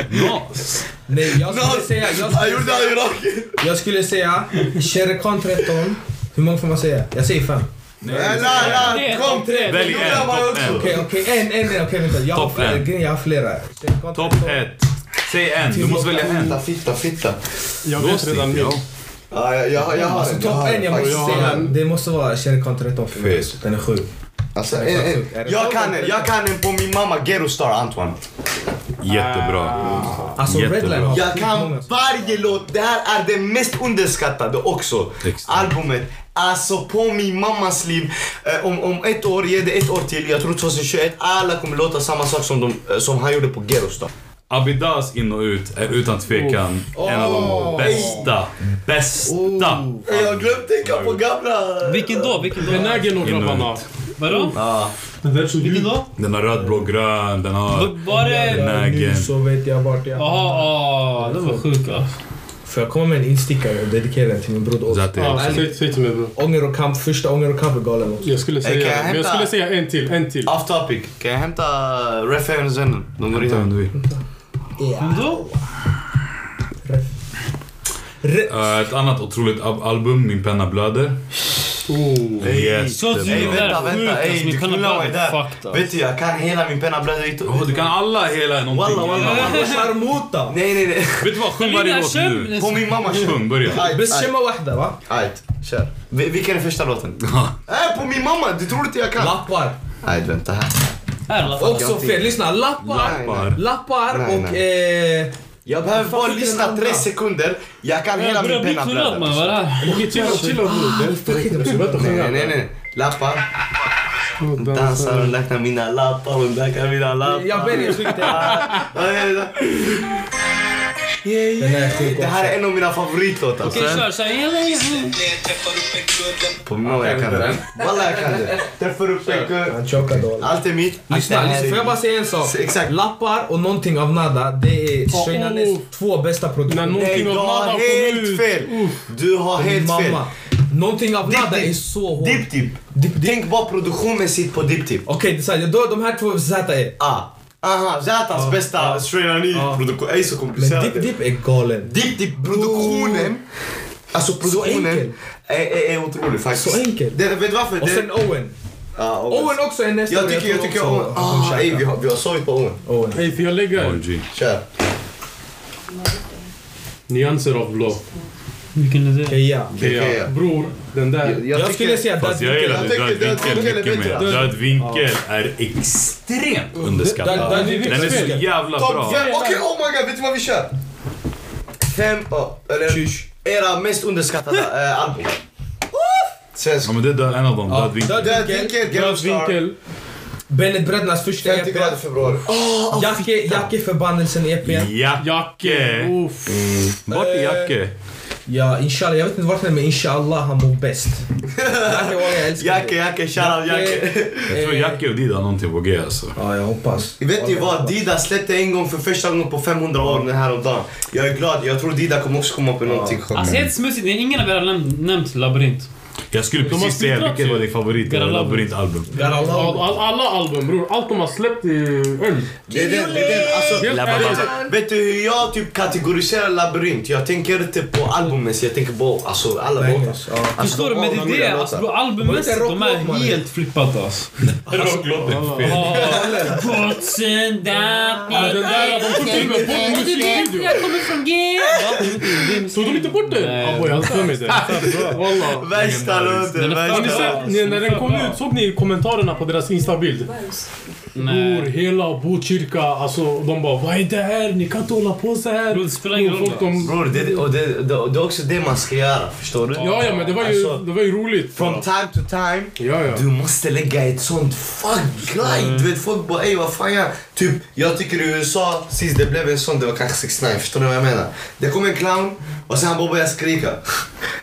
[SPEAKER 5] Nas!
[SPEAKER 4] Nej, jag skulle säga... Jag
[SPEAKER 3] Han
[SPEAKER 4] skulle,
[SPEAKER 3] gjorde det i Irak.
[SPEAKER 4] jag skulle säga Shere Khan 13. Hur många får man säga? Jag säger fem.
[SPEAKER 3] Nej, nej, nej. Kom.
[SPEAKER 5] Välj en, topp en.
[SPEAKER 4] Okej, okej. En, en, en. Okej, vänta. Jag
[SPEAKER 5] Topp
[SPEAKER 4] har,
[SPEAKER 5] fem.
[SPEAKER 4] grejen, jag har flera. Shere Khan
[SPEAKER 5] Topp
[SPEAKER 4] 13.
[SPEAKER 5] ett. Säg en. Du måste välja en.
[SPEAKER 3] Fitta, fitta, fitta.
[SPEAKER 6] Jag vet
[SPEAKER 5] Låst
[SPEAKER 6] redan
[SPEAKER 5] inte
[SPEAKER 6] nu.
[SPEAKER 5] jag.
[SPEAKER 3] Ja, jag, jag, jag har
[SPEAKER 4] Alltså
[SPEAKER 3] den. Jag
[SPEAKER 4] topp
[SPEAKER 3] har
[SPEAKER 4] en
[SPEAKER 3] den
[SPEAKER 4] jag måste
[SPEAKER 3] faktiskt. Alltså,
[SPEAKER 4] säga. Det måste vara Shere Khan 13 för mig.
[SPEAKER 3] Fett.
[SPEAKER 4] Den är sjuk.
[SPEAKER 3] Alltså, en, en. Jag kan den. Jag kan den på min mamma Ghetto Star Antoine.
[SPEAKER 5] Jättebra.
[SPEAKER 4] Alltså
[SPEAKER 5] Jättebra.
[SPEAKER 4] Redline har
[SPEAKER 3] Jag
[SPEAKER 4] sjukt
[SPEAKER 3] kan
[SPEAKER 4] många.
[SPEAKER 3] Mm. varje låt. Det här är det mest underskattade också.
[SPEAKER 5] Extra.
[SPEAKER 3] Albumet. Alltså på min mammas liv. Eh, om, om ett år, ge det ett år till. Jag tror 2021. Alla kommer låta samma sak som, de, eh, som han gjorde på Ghetto Star.
[SPEAKER 5] Abidas in och ut är utan tvekan en av de bästa, bästa.
[SPEAKER 3] Eh, Jag glömde tänka på gamla...
[SPEAKER 2] Vilken då? Vilken
[SPEAKER 6] Men
[SPEAKER 2] då?
[SPEAKER 6] Naggen och
[SPEAKER 5] Inuit.
[SPEAKER 6] grabbarna.
[SPEAKER 2] Vadå?
[SPEAKER 6] Vilken
[SPEAKER 2] då?
[SPEAKER 5] Den har röd, blå, grön, den har...
[SPEAKER 2] Var det...
[SPEAKER 5] Naggen.
[SPEAKER 4] Nu så vet jag vart jag
[SPEAKER 2] Jaha, åh, den var sjuk alltså.
[SPEAKER 4] Får jag komma med en instickare och dedikera den till min bror Oz?
[SPEAKER 5] Zati.
[SPEAKER 6] Ja, säg, säg till mig bror.
[SPEAKER 4] Ånger och kamp, första Ånger och kamp är galen också.
[SPEAKER 6] Jag skulle
[SPEAKER 3] Eh, kan
[SPEAKER 6] säga,
[SPEAKER 3] jag
[SPEAKER 6] men jag
[SPEAKER 3] hämta-
[SPEAKER 6] skulle säga en till, en till.
[SPEAKER 3] Off topic. Kan jag hämta referensen? De går in.
[SPEAKER 5] du vill.
[SPEAKER 2] Men då?
[SPEAKER 4] Re-
[SPEAKER 5] Eh, ett annat otroligt ab- album, Min penna blöder.
[SPEAKER 2] Oh.
[SPEAKER 5] Yes.
[SPEAKER 2] Så att
[SPEAKER 3] Ey,
[SPEAKER 2] vi
[SPEAKER 3] vänta,
[SPEAKER 2] där
[SPEAKER 3] vänta.
[SPEAKER 2] sjukt
[SPEAKER 3] Ey,
[SPEAKER 2] alltså, ni
[SPEAKER 3] du
[SPEAKER 2] kan ha
[SPEAKER 3] knullar mig
[SPEAKER 2] blivit
[SPEAKER 3] där.
[SPEAKER 2] fucked alltså.
[SPEAKER 3] Vet du, jag kan hela min penna blöder i
[SPEAKER 5] Åh, du kan alla hela någonting.
[SPEAKER 3] Walla, walla, walla.
[SPEAKER 4] Sharmuta.
[SPEAKER 3] Nej, nej, nej.
[SPEAKER 5] Vet du vad? Sjung varje
[SPEAKER 2] Lina,
[SPEAKER 5] låt
[SPEAKER 2] kör-
[SPEAKER 5] nu.
[SPEAKER 3] På min mamma. kör.
[SPEAKER 5] Sjung, börja.
[SPEAKER 3] Ajt,
[SPEAKER 4] بس
[SPEAKER 3] ajt.
[SPEAKER 4] شمة واحدة va?
[SPEAKER 3] Ajt, kör. Vi- Vilken är första låten? Äh, på min mamma! Du tror inte jag kan?
[SPEAKER 4] Lappar.
[SPEAKER 3] Ajt, vänta här.
[SPEAKER 2] Här i alla fall.
[SPEAKER 4] Också fel. Lyssna. Lappar.
[SPEAKER 5] Lappar.
[SPEAKER 4] Lappar
[SPEAKER 3] Nej,
[SPEAKER 4] och... Eh,
[SPEAKER 3] Jag behöver bara lyssna tre sekunder. Jag kan hela min
[SPEAKER 2] Äh, Börjar bli
[SPEAKER 3] penna
[SPEAKER 2] knullad man,
[SPEAKER 3] blöder.
[SPEAKER 2] vad är det här?
[SPEAKER 6] Okej, chilla, chilla bror. Det är för- Du behöver inte sjunga.
[SPEAKER 3] Nej, nej, nej. Lappar. Hon dansar, hon räknar mina lappar, hon räknar mina lappar.
[SPEAKER 4] jag ber
[SPEAKER 3] *laughs*
[SPEAKER 4] er skicka.
[SPEAKER 3] Yeah,
[SPEAKER 4] Den är sjuk
[SPEAKER 3] yeah. Det här
[SPEAKER 4] också.
[SPEAKER 3] är en av mina favoritlåtar.
[SPEAKER 2] Okej, kör. Så här.
[SPEAKER 3] På min mamma, jag kan det. Walla, jag kan det. Träffar upp en kö.
[SPEAKER 4] Han chokade och alla.
[SPEAKER 3] Allt är mitt.
[SPEAKER 4] Lyssna, lyssna, får jag bara säga en sak?
[SPEAKER 3] Exakt.
[SPEAKER 4] Lappar och någonting av nada, det är
[SPEAKER 3] Oh.
[SPEAKER 4] Sheinales två bästa
[SPEAKER 6] När
[SPEAKER 4] produkter.
[SPEAKER 3] Nej,
[SPEAKER 6] någonting
[SPEAKER 3] du
[SPEAKER 6] av
[SPEAKER 3] har
[SPEAKER 6] nada kommer
[SPEAKER 3] helt
[SPEAKER 6] ut.
[SPEAKER 3] fel. Du har helt fel.
[SPEAKER 4] Mamma. Någonting av
[SPEAKER 3] Dip,
[SPEAKER 4] nada
[SPEAKER 3] dip.
[SPEAKER 4] är så hårt.
[SPEAKER 3] Dip Tip. Tänk bara produktionsmässigt på Dip Tip.
[SPEAKER 4] Okej, det är så här, då de här två Z är.
[SPEAKER 3] Ah. Aha,
[SPEAKER 4] Oh.
[SPEAKER 3] Zatans bästa Australian League produktion. Ej så
[SPEAKER 4] Men
[SPEAKER 3] komplicerat.
[SPEAKER 4] Dip Dip är galen.
[SPEAKER 3] Dip Dip produktionen. Alltså
[SPEAKER 4] enkel.
[SPEAKER 3] produktionen är, är, är otrolig faktiskt.
[SPEAKER 4] Så enkel. Oh,
[SPEAKER 3] Det, vet du varför?
[SPEAKER 4] Och
[SPEAKER 3] Det-
[SPEAKER 4] sen Owen.
[SPEAKER 3] ah, Owen.
[SPEAKER 4] Owen också är nästa.
[SPEAKER 3] Jag tycker, jag
[SPEAKER 4] tror
[SPEAKER 3] tycker
[SPEAKER 4] också
[SPEAKER 3] Owen.
[SPEAKER 4] att de
[SPEAKER 3] Ah,
[SPEAKER 4] käkar.
[SPEAKER 3] ey, vi har, vi har sovit på Owen.
[SPEAKER 4] Owen.
[SPEAKER 6] Ey, får jag lägga en
[SPEAKER 5] OG.
[SPEAKER 3] Kör.
[SPEAKER 6] nyanser av blå?
[SPEAKER 2] Vilken är det?
[SPEAKER 4] Keja.
[SPEAKER 3] Okej.
[SPEAKER 6] Bror, den där.
[SPEAKER 4] Jag, skulle säga
[SPEAKER 5] Fast
[SPEAKER 4] Daddy
[SPEAKER 5] jag
[SPEAKER 4] Dip.
[SPEAKER 5] gillar död vinkel
[SPEAKER 3] tycker död vinkel är
[SPEAKER 5] mycket mer.
[SPEAKER 3] bättre.
[SPEAKER 5] Död vinkel är extremt underskattad.
[SPEAKER 4] Död
[SPEAKER 5] Den
[SPEAKER 4] vinkel
[SPEAKER 5] är så
[SPEAKER 6] spelar.
[SPEAKER 5] jävla
[SPEAKER 3] Topp
[SPEAKER 5] bra.
[SPEAKER 3] fem. Okej, oh my god. Vet du vad vi kör? Fem, oh, eller era mest underskattade eh, album. Svensk.
[SPEAKER 5] Ja men det är död- en av dem, död vinkel.
[SPEAKER 3] Död vinkel,
[SPEAKER 6] Död
[SPEAKER 3] Girlstar.
[SPEAKER 6] vinkel.
[SPEAKER 4] Bennet Brednas första
[SPEAKER 3] 50
[SPEAKER 4] EP.
[SPEAKER 3] grader februari.
[SPEAKER 4] Jacke, Jacke förbannelsen E EP.
[SPEAKER 5] Jacke!
[SPEAKER 6] Uff.
[SPEAKER 5] Vart är Jacke?
[SPEAKER 4] Ja, inshallah. Jag vet inte vart den är men inshallah han mår bäst. Jacke, walla, jag älskar dig.
[SPEAKER 3] Jacke, Jacke, shoutout Jacke.
[SPEAKER 5] Jag tror Jacke och Dida har någonting på G alltså.
[SPEAKER 4] Ja, jag hoppas.
[SPEAKER 3] Vet ni vad? Dida släppte en gång för första gången på 500 år den här om dagen. Jag är glad. Jag tror Dida kommer också komma på någonting sjukt.
[SPEAKER 2] Alltså helt smutsigt, det är ingen av er har nämnt, nämnt labyrint.
[SPEAKER 3] Alltså,
[SPEAKER 5] Jag skulle
[SPEAKER 2] har
[SPEAKER 5] precis säga
[SPEAKER 2] splittrat
[SPEAKER 5] vilket
[SPEAKER 2] ju.
[SPEAKER 5] var din favorit
[SPEAKER 2] Garalabbo.
[SPEAKER 5] favoritalbum.
[SPEAKER 4] Oh,
[SPEAKER 6] All, all, alla album bror. Allt de har släppt i öl.
[SPEAKER 3] Det är den, det är den. Alltså,
[SPEAKER 6] Helt ärligt.
[SPEAKER 3] Vet du hur jag typ kategoriserar labyrint? Jag tänker inte på albumet, jag tänker på alltså, alla låtar.
[SPEAKER 4] Bangers, ja.
[SPEAKER 3] Alltså,
[SPEAKER 2] Förstår du? Men det
[SPEAKER 3] alla
[SPEAKER 2] är det,
[SPEAKER 3] mina
[SPEAKER 2] alltså
[SPEAKER 3] låtar.
[SPEAKER 2] bro, albummässigt,
[SPEAKER 4] Det var
[SPEAKER 2] de
[SPEAKER 4] lite
[SPEAKER 2] är
[SPEAKER 4] rock, man.
[SPEAKER 2] helt flippade
[SPEAKER 3] *laughs*
[SPEAKER 2] alltså.
[SPEAKER 5] Rocklåten fel.
[SPEAKER 2] Gotsen
[SPEAKER 6] Ja, Den
[SPEAKER 2] dappi.
[SPEAKER 6] där, de tog till och med bort musikvideon.
[SPEAKER 2] Jag kommer från G.
[SPEAKER 6] Tog de inte bort den?
[SPEAKER 2] Nej.
[SPEAKER 6] Abow, jag har för mig det. Wallah.
[SPEAKER 3] Värsta låten,
[SPEAKER 2] Den är
[SPEAKER 6] Har ni
[SPEAKER 3] värsta
[SPEAKER 2] fan-
[SPEAKER 3] låten.
[SPEAKER 6] sett, ni- när den kom ut, såg ni kommentarerna på deras instabild? Bror,
[SPEAKER 2] Nej.
[SPEAKER 6] hela Botkyrka, alltså de bara vad är det här? Ni kan inte hålla på så här.
[SPEAKER 2] Bror, det spelar ingen
[SPEAKER 6] Bror,
[SPEAKER 2] roll,
[SPEAKER 6] de,
[SPEAKER 3] Bror, det, och det, det, det är också det man ska göra, förstår du?
[SPEAKER 6] ja, ja men det var ju,
[SPEAKER 3] Alltså,
[SPEAKER 6] det var ju roligt.
[SPEAKER 3] From time to time,
[SPEAKER 6] ja, ja.
[SPEAKER 3] du måste lägga ett sånt fuck grind. Du vet, folk bara ey vad fan jag... Typ, jag tycker i USA, sist det blev en sån, det var kanske 6 9 förstår ni vad jag menar? Det kom en clown och sen han bara började skrika. *laughs*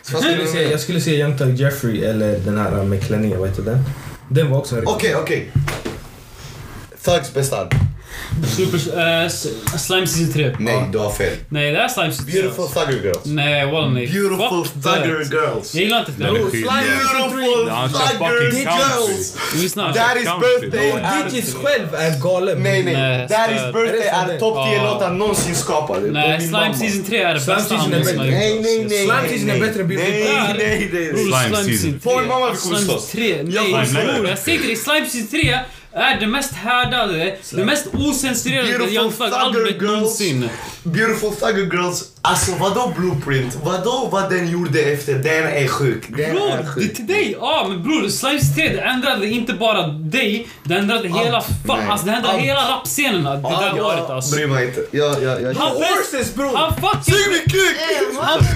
[SPEAKER 3] Så vad ska
[SPEAKER 4] Jag skulle
[SPEAKER 3] du-
[SPEAKER 4] säga, jag skulle säga Young Thug Jeffrey eller den här med klänningen, vad heter den? Den var också en
[SPEAKER 3] Okej, okej. Thugs bästa album.
[SPEAKER 2] Super... eh, s- slime season 3.
[SPEAKER 3] Nej, du har fel.
[SPEAKER 2] Nej, det här är slime season 3.
[SPEAKER 3] Beautiful Thugger Girls.
[SPEAKER 2] Nej, walla nej.
[SPEAKER 3] Beautiful
[SPEAKER 2] Fuck
[SPEAKER 3] Thugger
[SPEAKER 2] that.
[SPEAKER 3] Girls.
[SPEAKER 2] Jag gillar inte
[SPEAKER 5] Den är
[SPEAKER 2] det.
[SPEAKER 5] skit.
[SPEAKER 3] Beautiful
[SPEAKER 5] Han kör
[SPEAKER 3] Thugger
[SPEAKER 5] fucking country.
[SPEAKER 3] Girls.
[SPEAKER 2] Lyssna.
[SPEAKER 3] That is
[SPEAKER 5] Country.
[SPEAKER 3] birthday är...
[SPEAKER 4] Digis själv är galen.
[SPEAKER 3] Nej, nej.
[SPEAKER 2] Nej,
[SPEAKER 3] That is
[SPEAKER 2] stöd.
[SPEAKER 3] birthday
[SPEAKER 4] Är det
[SPEAKER 3] är
[SPEAKER 4] så?
[SPEAKER 3] topp 10
[SPEAKER 2] Ja.
[SPEAKER 3] låtar någonsin skapade. Det är
[SPEAKER 2] Nej,
[SPEAKER 3] min
[SPEAKER 2] Oh. slime
[SPEAKER 3] mamma.
[SPEAKER 2] season 3 är det
[SPEAKER 4] Slime
[SPEAKER 2] bästa
[SPEAKER 4] season är
[SPEAKER 2] handen som
[SPEAKER 4] bättre.
[SPEAKER 2] har
[SPEAKER 3] Nej,
[SPEAKER 2] gjorts.
[SPEAKER 3] nej, nej.
[SPEAKER 4] Slime
[SPEAKER 3] nej,
[SPEAKER 4] season är
[SPEAKER 3] nej.
[SPEAKER 4] bättre än Beautiful
[SPEAKER 3] Nej,
[SPEAKER 2] Thugger.
[SPEAKER 3] nej,
[SPEAKER 2] Bror,
[SPEAKER 3] nej.
[SPEAKER 5] Slime
[SPEAKER 2] slime
[SPEAKER 5] season.
[SPEAKER 2] season 3.
[SPEAKER 3] Får mamma vi kommer
[SPEAKER 2] Slime
[SPEAKER 3] slåss.
[SPEAKER 2] season 3. Nej,
[SPEAKER 3] kommer
[SPEAKER 5] slåss.
[SPEAKER 2] bror. Jag säger till dig, slime season 3 är det mest härdade, det mest ocensurerade
[SPEAKER 3] Beautiful
[SPEAKER 2] Young Thug-albumet
[SPEAKER 3] Thugger Girls.
[SPEAKER 2] någonsin.
[SPEAKER 3] Beautiful Thugger Girls. Alltså vadå blueprint? Vadå vad den gjorde efter? Den är sjuk. Den är
[SPEAKER 2] Bror, det är
[SPEAKER 3] sjuk.
[SPEAKER 2] till dig! Ja, men bror, Slime Season 3 det ändrade inte bara dig, det ändrade hela fa-
[SPEAKER 3] nej.
[SPEAKER 2] alltså, det ändrade
[SPEAKER 3] Allt.
[SPEAKER 2] hela rapscenen det
[SPEAKER 3] Ah,
[SPEAKER 2] där
[SPEAKER 3] jag
[SPEAKER 2] året alltså. Ah,
[SPEAKER 3] Bryr mig inte. Jag, jag, jag.
[SPEAKER 2] Han, pres-
[SPEAKER 4] Horses bror!
[SPEAKER 2] han
[SPEAKER 3] Sug
[SPEAKER 2] fucking...
[SPEAKER 3] min kuk!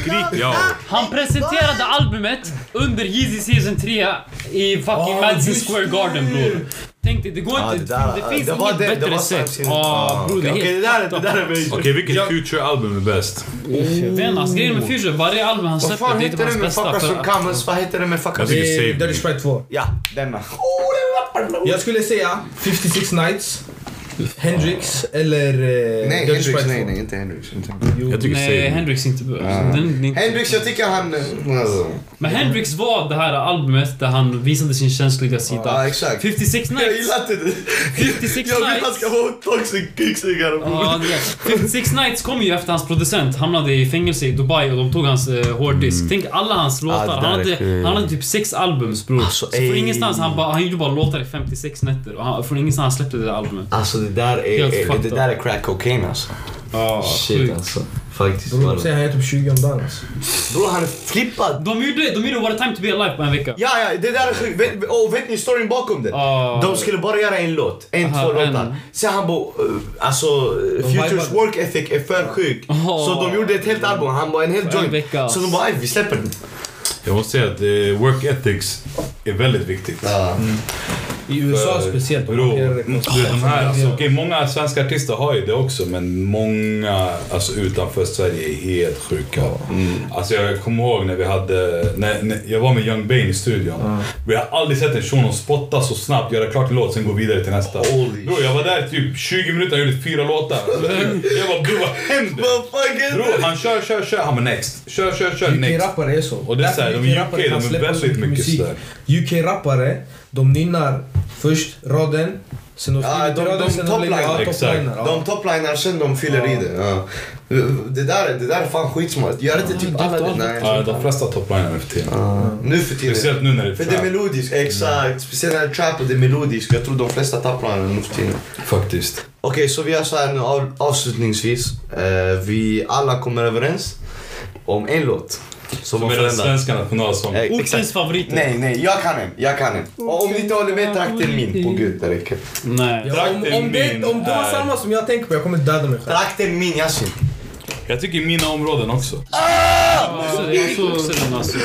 [SPEAKER 5] Skrik ja.
[SPEAKER 2] Han presenterade albumet under Yeezy Season 3 i fucking
[SPEAKER 3] Ah,
[SPEAKER 2] Madison Square Garden bror. Tänk dig, det går
[SPEAKER 3] Ja,
[SPEAKER 2] inte...
[SPEAKER 3] Ah, det där-
[SPEAKER 2] det finns
[SPEAKER 3] det var
[SPEAKER 2] inget
[SPEAKER 3] det- det
[SPEAKER 2] bättre
[SPEAKER 3] var Slime
[SPEAKER 2] sätt.
[SPEAKER 3] Season.
[SPEAKER 2] Ja,
[SPEAKER 3] Ah,
[SPEAKER 2] bror, det
[SPEAKER 3] Okej,
[SPEAKER 2] är
[SPEAKER 3] okej, det
[SPEAKER 2] helt...
[SPEAKER 3] där är det där är
[SPEAKER 5] Okej,
[SPEAKER 3] major.
[SPEAKER 5] vilket Future-album är bäst?
[SPEAKER 2] Jag vet inte, alltså, grejen med Future, varje album han
[SPEAKER 3] Mm. Vad
[SPEAKER 2] släpper,
[SPEAKER 3] fan
[SPEAKER 2] det är typ
[SPEAKER 3] heter
[SPEAKER 2] hans
[SPEAKER 3] den med
[SPEAKER 2] bästa.
[SPEAKER 3] Fuckers
[SPEAKER 2] För
[SPEAKER 3] from Commons? Vad heter den med Fuckers?
[SPEAKER 5] Jag tycker
[SPEAKER 4] Det är
[SPEAKER 5] Save
[SPEAKER 4] Eh, Dirty
[SPEAKER 5] Me.
[SPEAKER 4] Sprite 2.
[SPEAKER 3] Ja, denna.
[SPEAKER 4] Jag skulle säga 56 Nights. Hendrix eller... eh,
[SPEAKER 3] Nej,
[SPEAKER 4] Dirty
[SPEAKER 3] Hendrix.
[SPEAKER 4] Sprite
[SPEAKER 3] Nej,
[SPEAKER 4] 2.
[SPEAKER 3] nej, inte Hendrix. Inte.
[SPEAKER 5] Jag tycker
[SPEAKER 2] Nej,
[SPEAKER 5] Save Me.
[SPEAKER 2] Hendrix inte behövs.
[SPEAKER 3] Ja.
[SPEAKER 2] Den är inte-
[SPEAKER 3] Hendrix, jag tycker han... Alltså,
[SPEAKER 2] Men Hendrix var det här albumet där han visade sin känsliga
[SPEAKER 3] ja,
[SPEAKER 2] sida.
[SPEAKER 3] exakt.
[SPEAKER 2] 56
[SPEAKER 12] Jag
[SPEAKER 2] Nights.
[SPEAKER 12] gillar inte det.
[SPEAKER 2] 56
[SPEAKER 12] Jag vill han
[SPEAKER 2] Nights.
[SPEAKER 12] ska vara toxic kicksugare.
[SPEAKER 2] Ja, det är- 56 Nights kom ju efter hans producent hamnade i fängelse i Dubai och de tog hans eh, hårddisk. Tänk alla hans låtar.
[SPEAKER 12] Mm. det där
[SPEAKER 2] han, hade,
[SPEAKER 12] är sjukt.
[SPEAKER 2] han hade typ sex albums bror.
[SPEAKER 12] Alltså,
[SPEAKER 2] så från
[SPEAKER 12] ey.
[SPEAKER 2] ingenstans, han, bara, han gjorde bara låtar i 56 nätter. Och han, från ingenstans släppte det där albumet.
[SPEAKER 12] Alltså det där
[SPEAKER 2] Helt
[SPEAKER 12] är,
[SPEAKER 2] fucked
[SPEAKER 12] det där är crack cocaine alltså.
[SPEAKER 2] Ja,
[SPEAKER 12] Shit alltså. Faktiskt.
[SPEAKER 4] Bror, de
[SPEAKER 12] mannen.
[SPEAKER 4] säger han är typ 20 om dagen alltså.
[SPEAKER 12] Bror han är flippad.
[SPEAKER 2] De gjorde, de gjorde What a time to be alive på en vecka.
[SPEAKER 12] Ja, ja, det där är sjukt. Vet, och vet ni storyn bakom det?
[SPEAKER 2] Ja.
[SPEAKER 12] De skulle bara göra en låt, en,
[SPEAKER 2] Ah. Aha,
[SPEAKER 12] två
[SPEAKER 2] en.
[SPEAKER 12] låtar. Sen han bara, eh, alltså eh, Futures
[SPEAKER 4] vibade.
[SPEAKER 12] work ethic är för sjuk.
[SPEAKER 2] Ja.
[SPEAKER 12] Så de gjorde ett helt album, han bara en hel
[SPEAKER 2] Ah. en
[SPEAKER 12] joint.
[SPEAKER 2] vecka,
[SPEAKER 12] Så
[SPEAKER 2] alltså.
[SPEAKER 12] de bara, "Aj, vi släpper den.
[SPEAKER 5] Jag måste säga att eh, work ethics är väldigt viktigt.
[SPEAKER 4] I USA speciellt. de
[SPEAKER 5] Bro,
[SPEAKER 4] markerar det.
[SPEAKER 5] du vet de här, alltså, okej, många svenska artister har ju det också men många alltså, utanför Sverige är helt sjuka. Alltså, jag kommer ihåg när vi hade, när, när jag var med Young Bane i studion. Vi har aldrig sett en shuno spotta så snabbt, göra klart en låt sen gå vidare till nästa.
[SPEAKER 12] Holy
[SPEAKER 5] Bro, jag var där i typ 20 minuter, jag gjorde fyra låtar. Jag bara bror vad händer? Bro, han kör, kör, kör. Han bara next. Kör, kör, kör. Next.
[SPEAKER 4] UK-rappare är så.
[SPEAKER 5] Och det är så här,
[SPEAKER 4] Därför
[SPEAKER 5] de
[SPEAKER 4] UK-rappare
[SPEAKER 5] UK,
[SPEAKER 4] kan
[SPEAKER 5] de är
[SPEAKER 4] släppa
[SPEAKER 5] väldigt mycket
[SPEAKER 4] musik.
[SPEAKER 5] sådär.
[SPEAKER 4] UK-rappare, de nynnar först raden, sen de
[SPEAKER 3] Ja, de-
[SPEAKER 4] skriver till raden,
[SPEAKER 3] de
[SPEAKER 4] sen de lägger
[SPEAKER 3] toplinar.
[SPEAKER 4] ja,
[SPEAKER 5] Exakt.
[SPEAKER 4] toplinar, ja.
[SPEAKER 3] De toplinar sen de fyller i det. Ja. Det, där, det där är fan skitsmart. Gör inte typ alla det. Nej.
[SPEAKER 5] Ja, de flesta topliner nu för tiden.
[SPEAKER 3] Nu för tiden.
[SPEAKER 5] Speciellt nu när det är
[SPEAKER 3] För det är
[SPEAKER 5] trap. Mm.
[SPEAKER 3] melodiskt, exakt. Speciellt när det är trap och det är melodiskt. Jag tror de flesta tappar den nu för tiden.
[SPEAKER 5] Faktiskt.
[SPEAKER 3] Okej, så vi gör så här nu av, avslutningsvis. Eh, vi alla kommer överens om en låt. Som har
[SPEAKER 5] Med den
[SPEAKER 3] förändrats.
[SPEAKER 5] svenska nationalsången.
[SPEAKER 3] Eh, exakt.
[SPEAKER 2] Ortens favoriter.
[SPEAKER 3] Nej, nej, jag kan en. Jag kan en. Och om ni inte håller med, trakten min. På gud, det räcker.
[SPEAKER 2] Nej.
[SPEAKER 4] Ja, om, om, det, om det
[SPEAKER 3] eh,
[SPEAKER 4] var samma som jag tänker på, jag kommer döda mig själv.
[SPEAKER 3] Trakten min, Yasin.
[SPEAKER 5] Jag tycker mina områden också.
[SPEAKER 2] Alltså, det är också den alltså.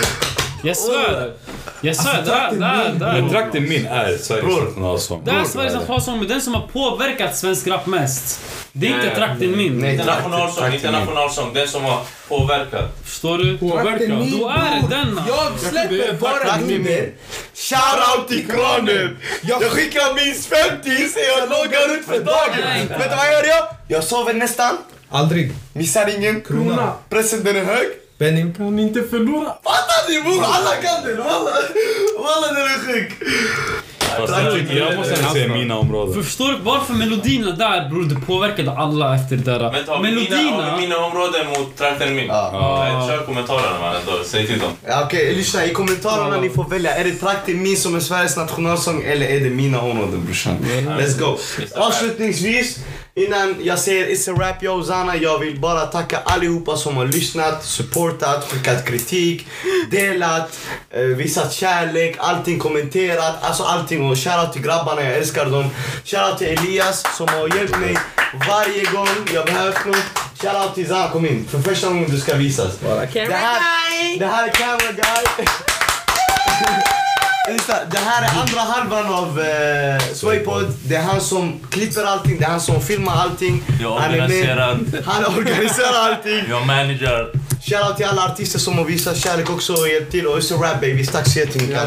[SPEAKER 2] Jag svär. Jag svär.
[SPEAKER 12] Alltså,
[SPEAKER 2] Där, där, där.
[SPEAKER 5] Men Trakten min är Sveriges nationalsång.
[SPEAKER 2] Det är Sveriges nationalsång, men den som har påverkat svensk rap mest. Det är inte
[SPEAKER 8] Nej.
[SPEAKER 2] trakten min.
[SPEAKER 3] Nej,
[SPEAKER 8] Inte nationalsång,
[SPEAKER 3] trakten
[SPEAKER 8] inte
[SPEAKER 3] min.
[SPEAKER 8] nationalsång. Den som har påverkat.
[SPEAKER 2] Förstår du?
[SPEAKER 4] Trakten min,
[SPEAKER 2] Då är det
[SPEAKER 4] bror.
[SPEAKER 2] den.
[SPEAKER 4] Jag släpper bara
[SPEAKER 3] Trakten
[SPEAKER 4] nummer.
[SPEAKER 3] min. Shoutout till kranen! Jag skickar minst 50 så jag loggar ut för dagen. Vet du vad jag gör? Jag, jag sover nästan,
[SPEAKER 4] Aldrig.
[SPEAKER 3] missar ingen.
[SPEAKER 4] Krona.
[SPEAKER 3] Pressen den är hög.
[SPEAKER 4] Benny.
[SPEAKER 6] Kan inte förlora.
[SPEAKER 3] Fattar ni bror? Alla kan den! Walla, walla den är sjuk!
[SPEAKER 5] Fast jag, tycker, jag måste ändå säga mina områden.
[SPEAKER 2] Förstår du varför melodierna där bror, det påverkade alla efter det
[SPEAKER 8] Men ta
[SPEAKER 2] där.
[SPEAKER 8] mina,
[SPEAKER 2] Melodierna.
[SPEAKER 8] mina områden mot trakten min.
[SPEAKER 3] Ja.
[SPEAKER 8] Ja. Kör kommentarerna mannen, då. säg till dem.
[SPEAKER 3] Ja, Okej, lyssna. I kommentarerna ni får välja. Är det Trakten min som är Sveriges nationalsång eller är det Mina områden brorsan? Let's go. Avslutningsvis, innan jag säger It's a rap yo Zana. Jag vill bara tacka allihopa som har lyssnat, supportat, skickat kritik, delat, eh, visat kärlek, allting kommenterat. Alltså allting. Och shoutout till grabbarna, jag älskar dem. Shoutout till Elias som har hjälpt mig varje gång jag behövt något. Shoutout till Zana, kom in. För första gången du ska visas. Det här, det här är Camera *laughs* Guy. Lyssna, Det här är andra halvan av eh, Swaypod. Det är han som klipper allting, det är han som filmar allting.
[SPEAKER 8] Jag
[SPEAKER 3] Han är med,
[SPEAKER 8] organiserar,
[SPEAKER 3] han organiserar allting.
[SPEAKER 8] jag manager.
[SPEAKER 3] Shoutout till alla artister som har visat kärlek också och hjälpt till. Och så rap babies, tack så jättemycket.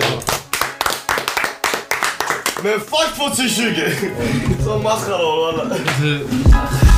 [SPEAKER 3] Men fuck 2020! *laughs* Som maskarov walla.
[SPEAKER 2] Alltså,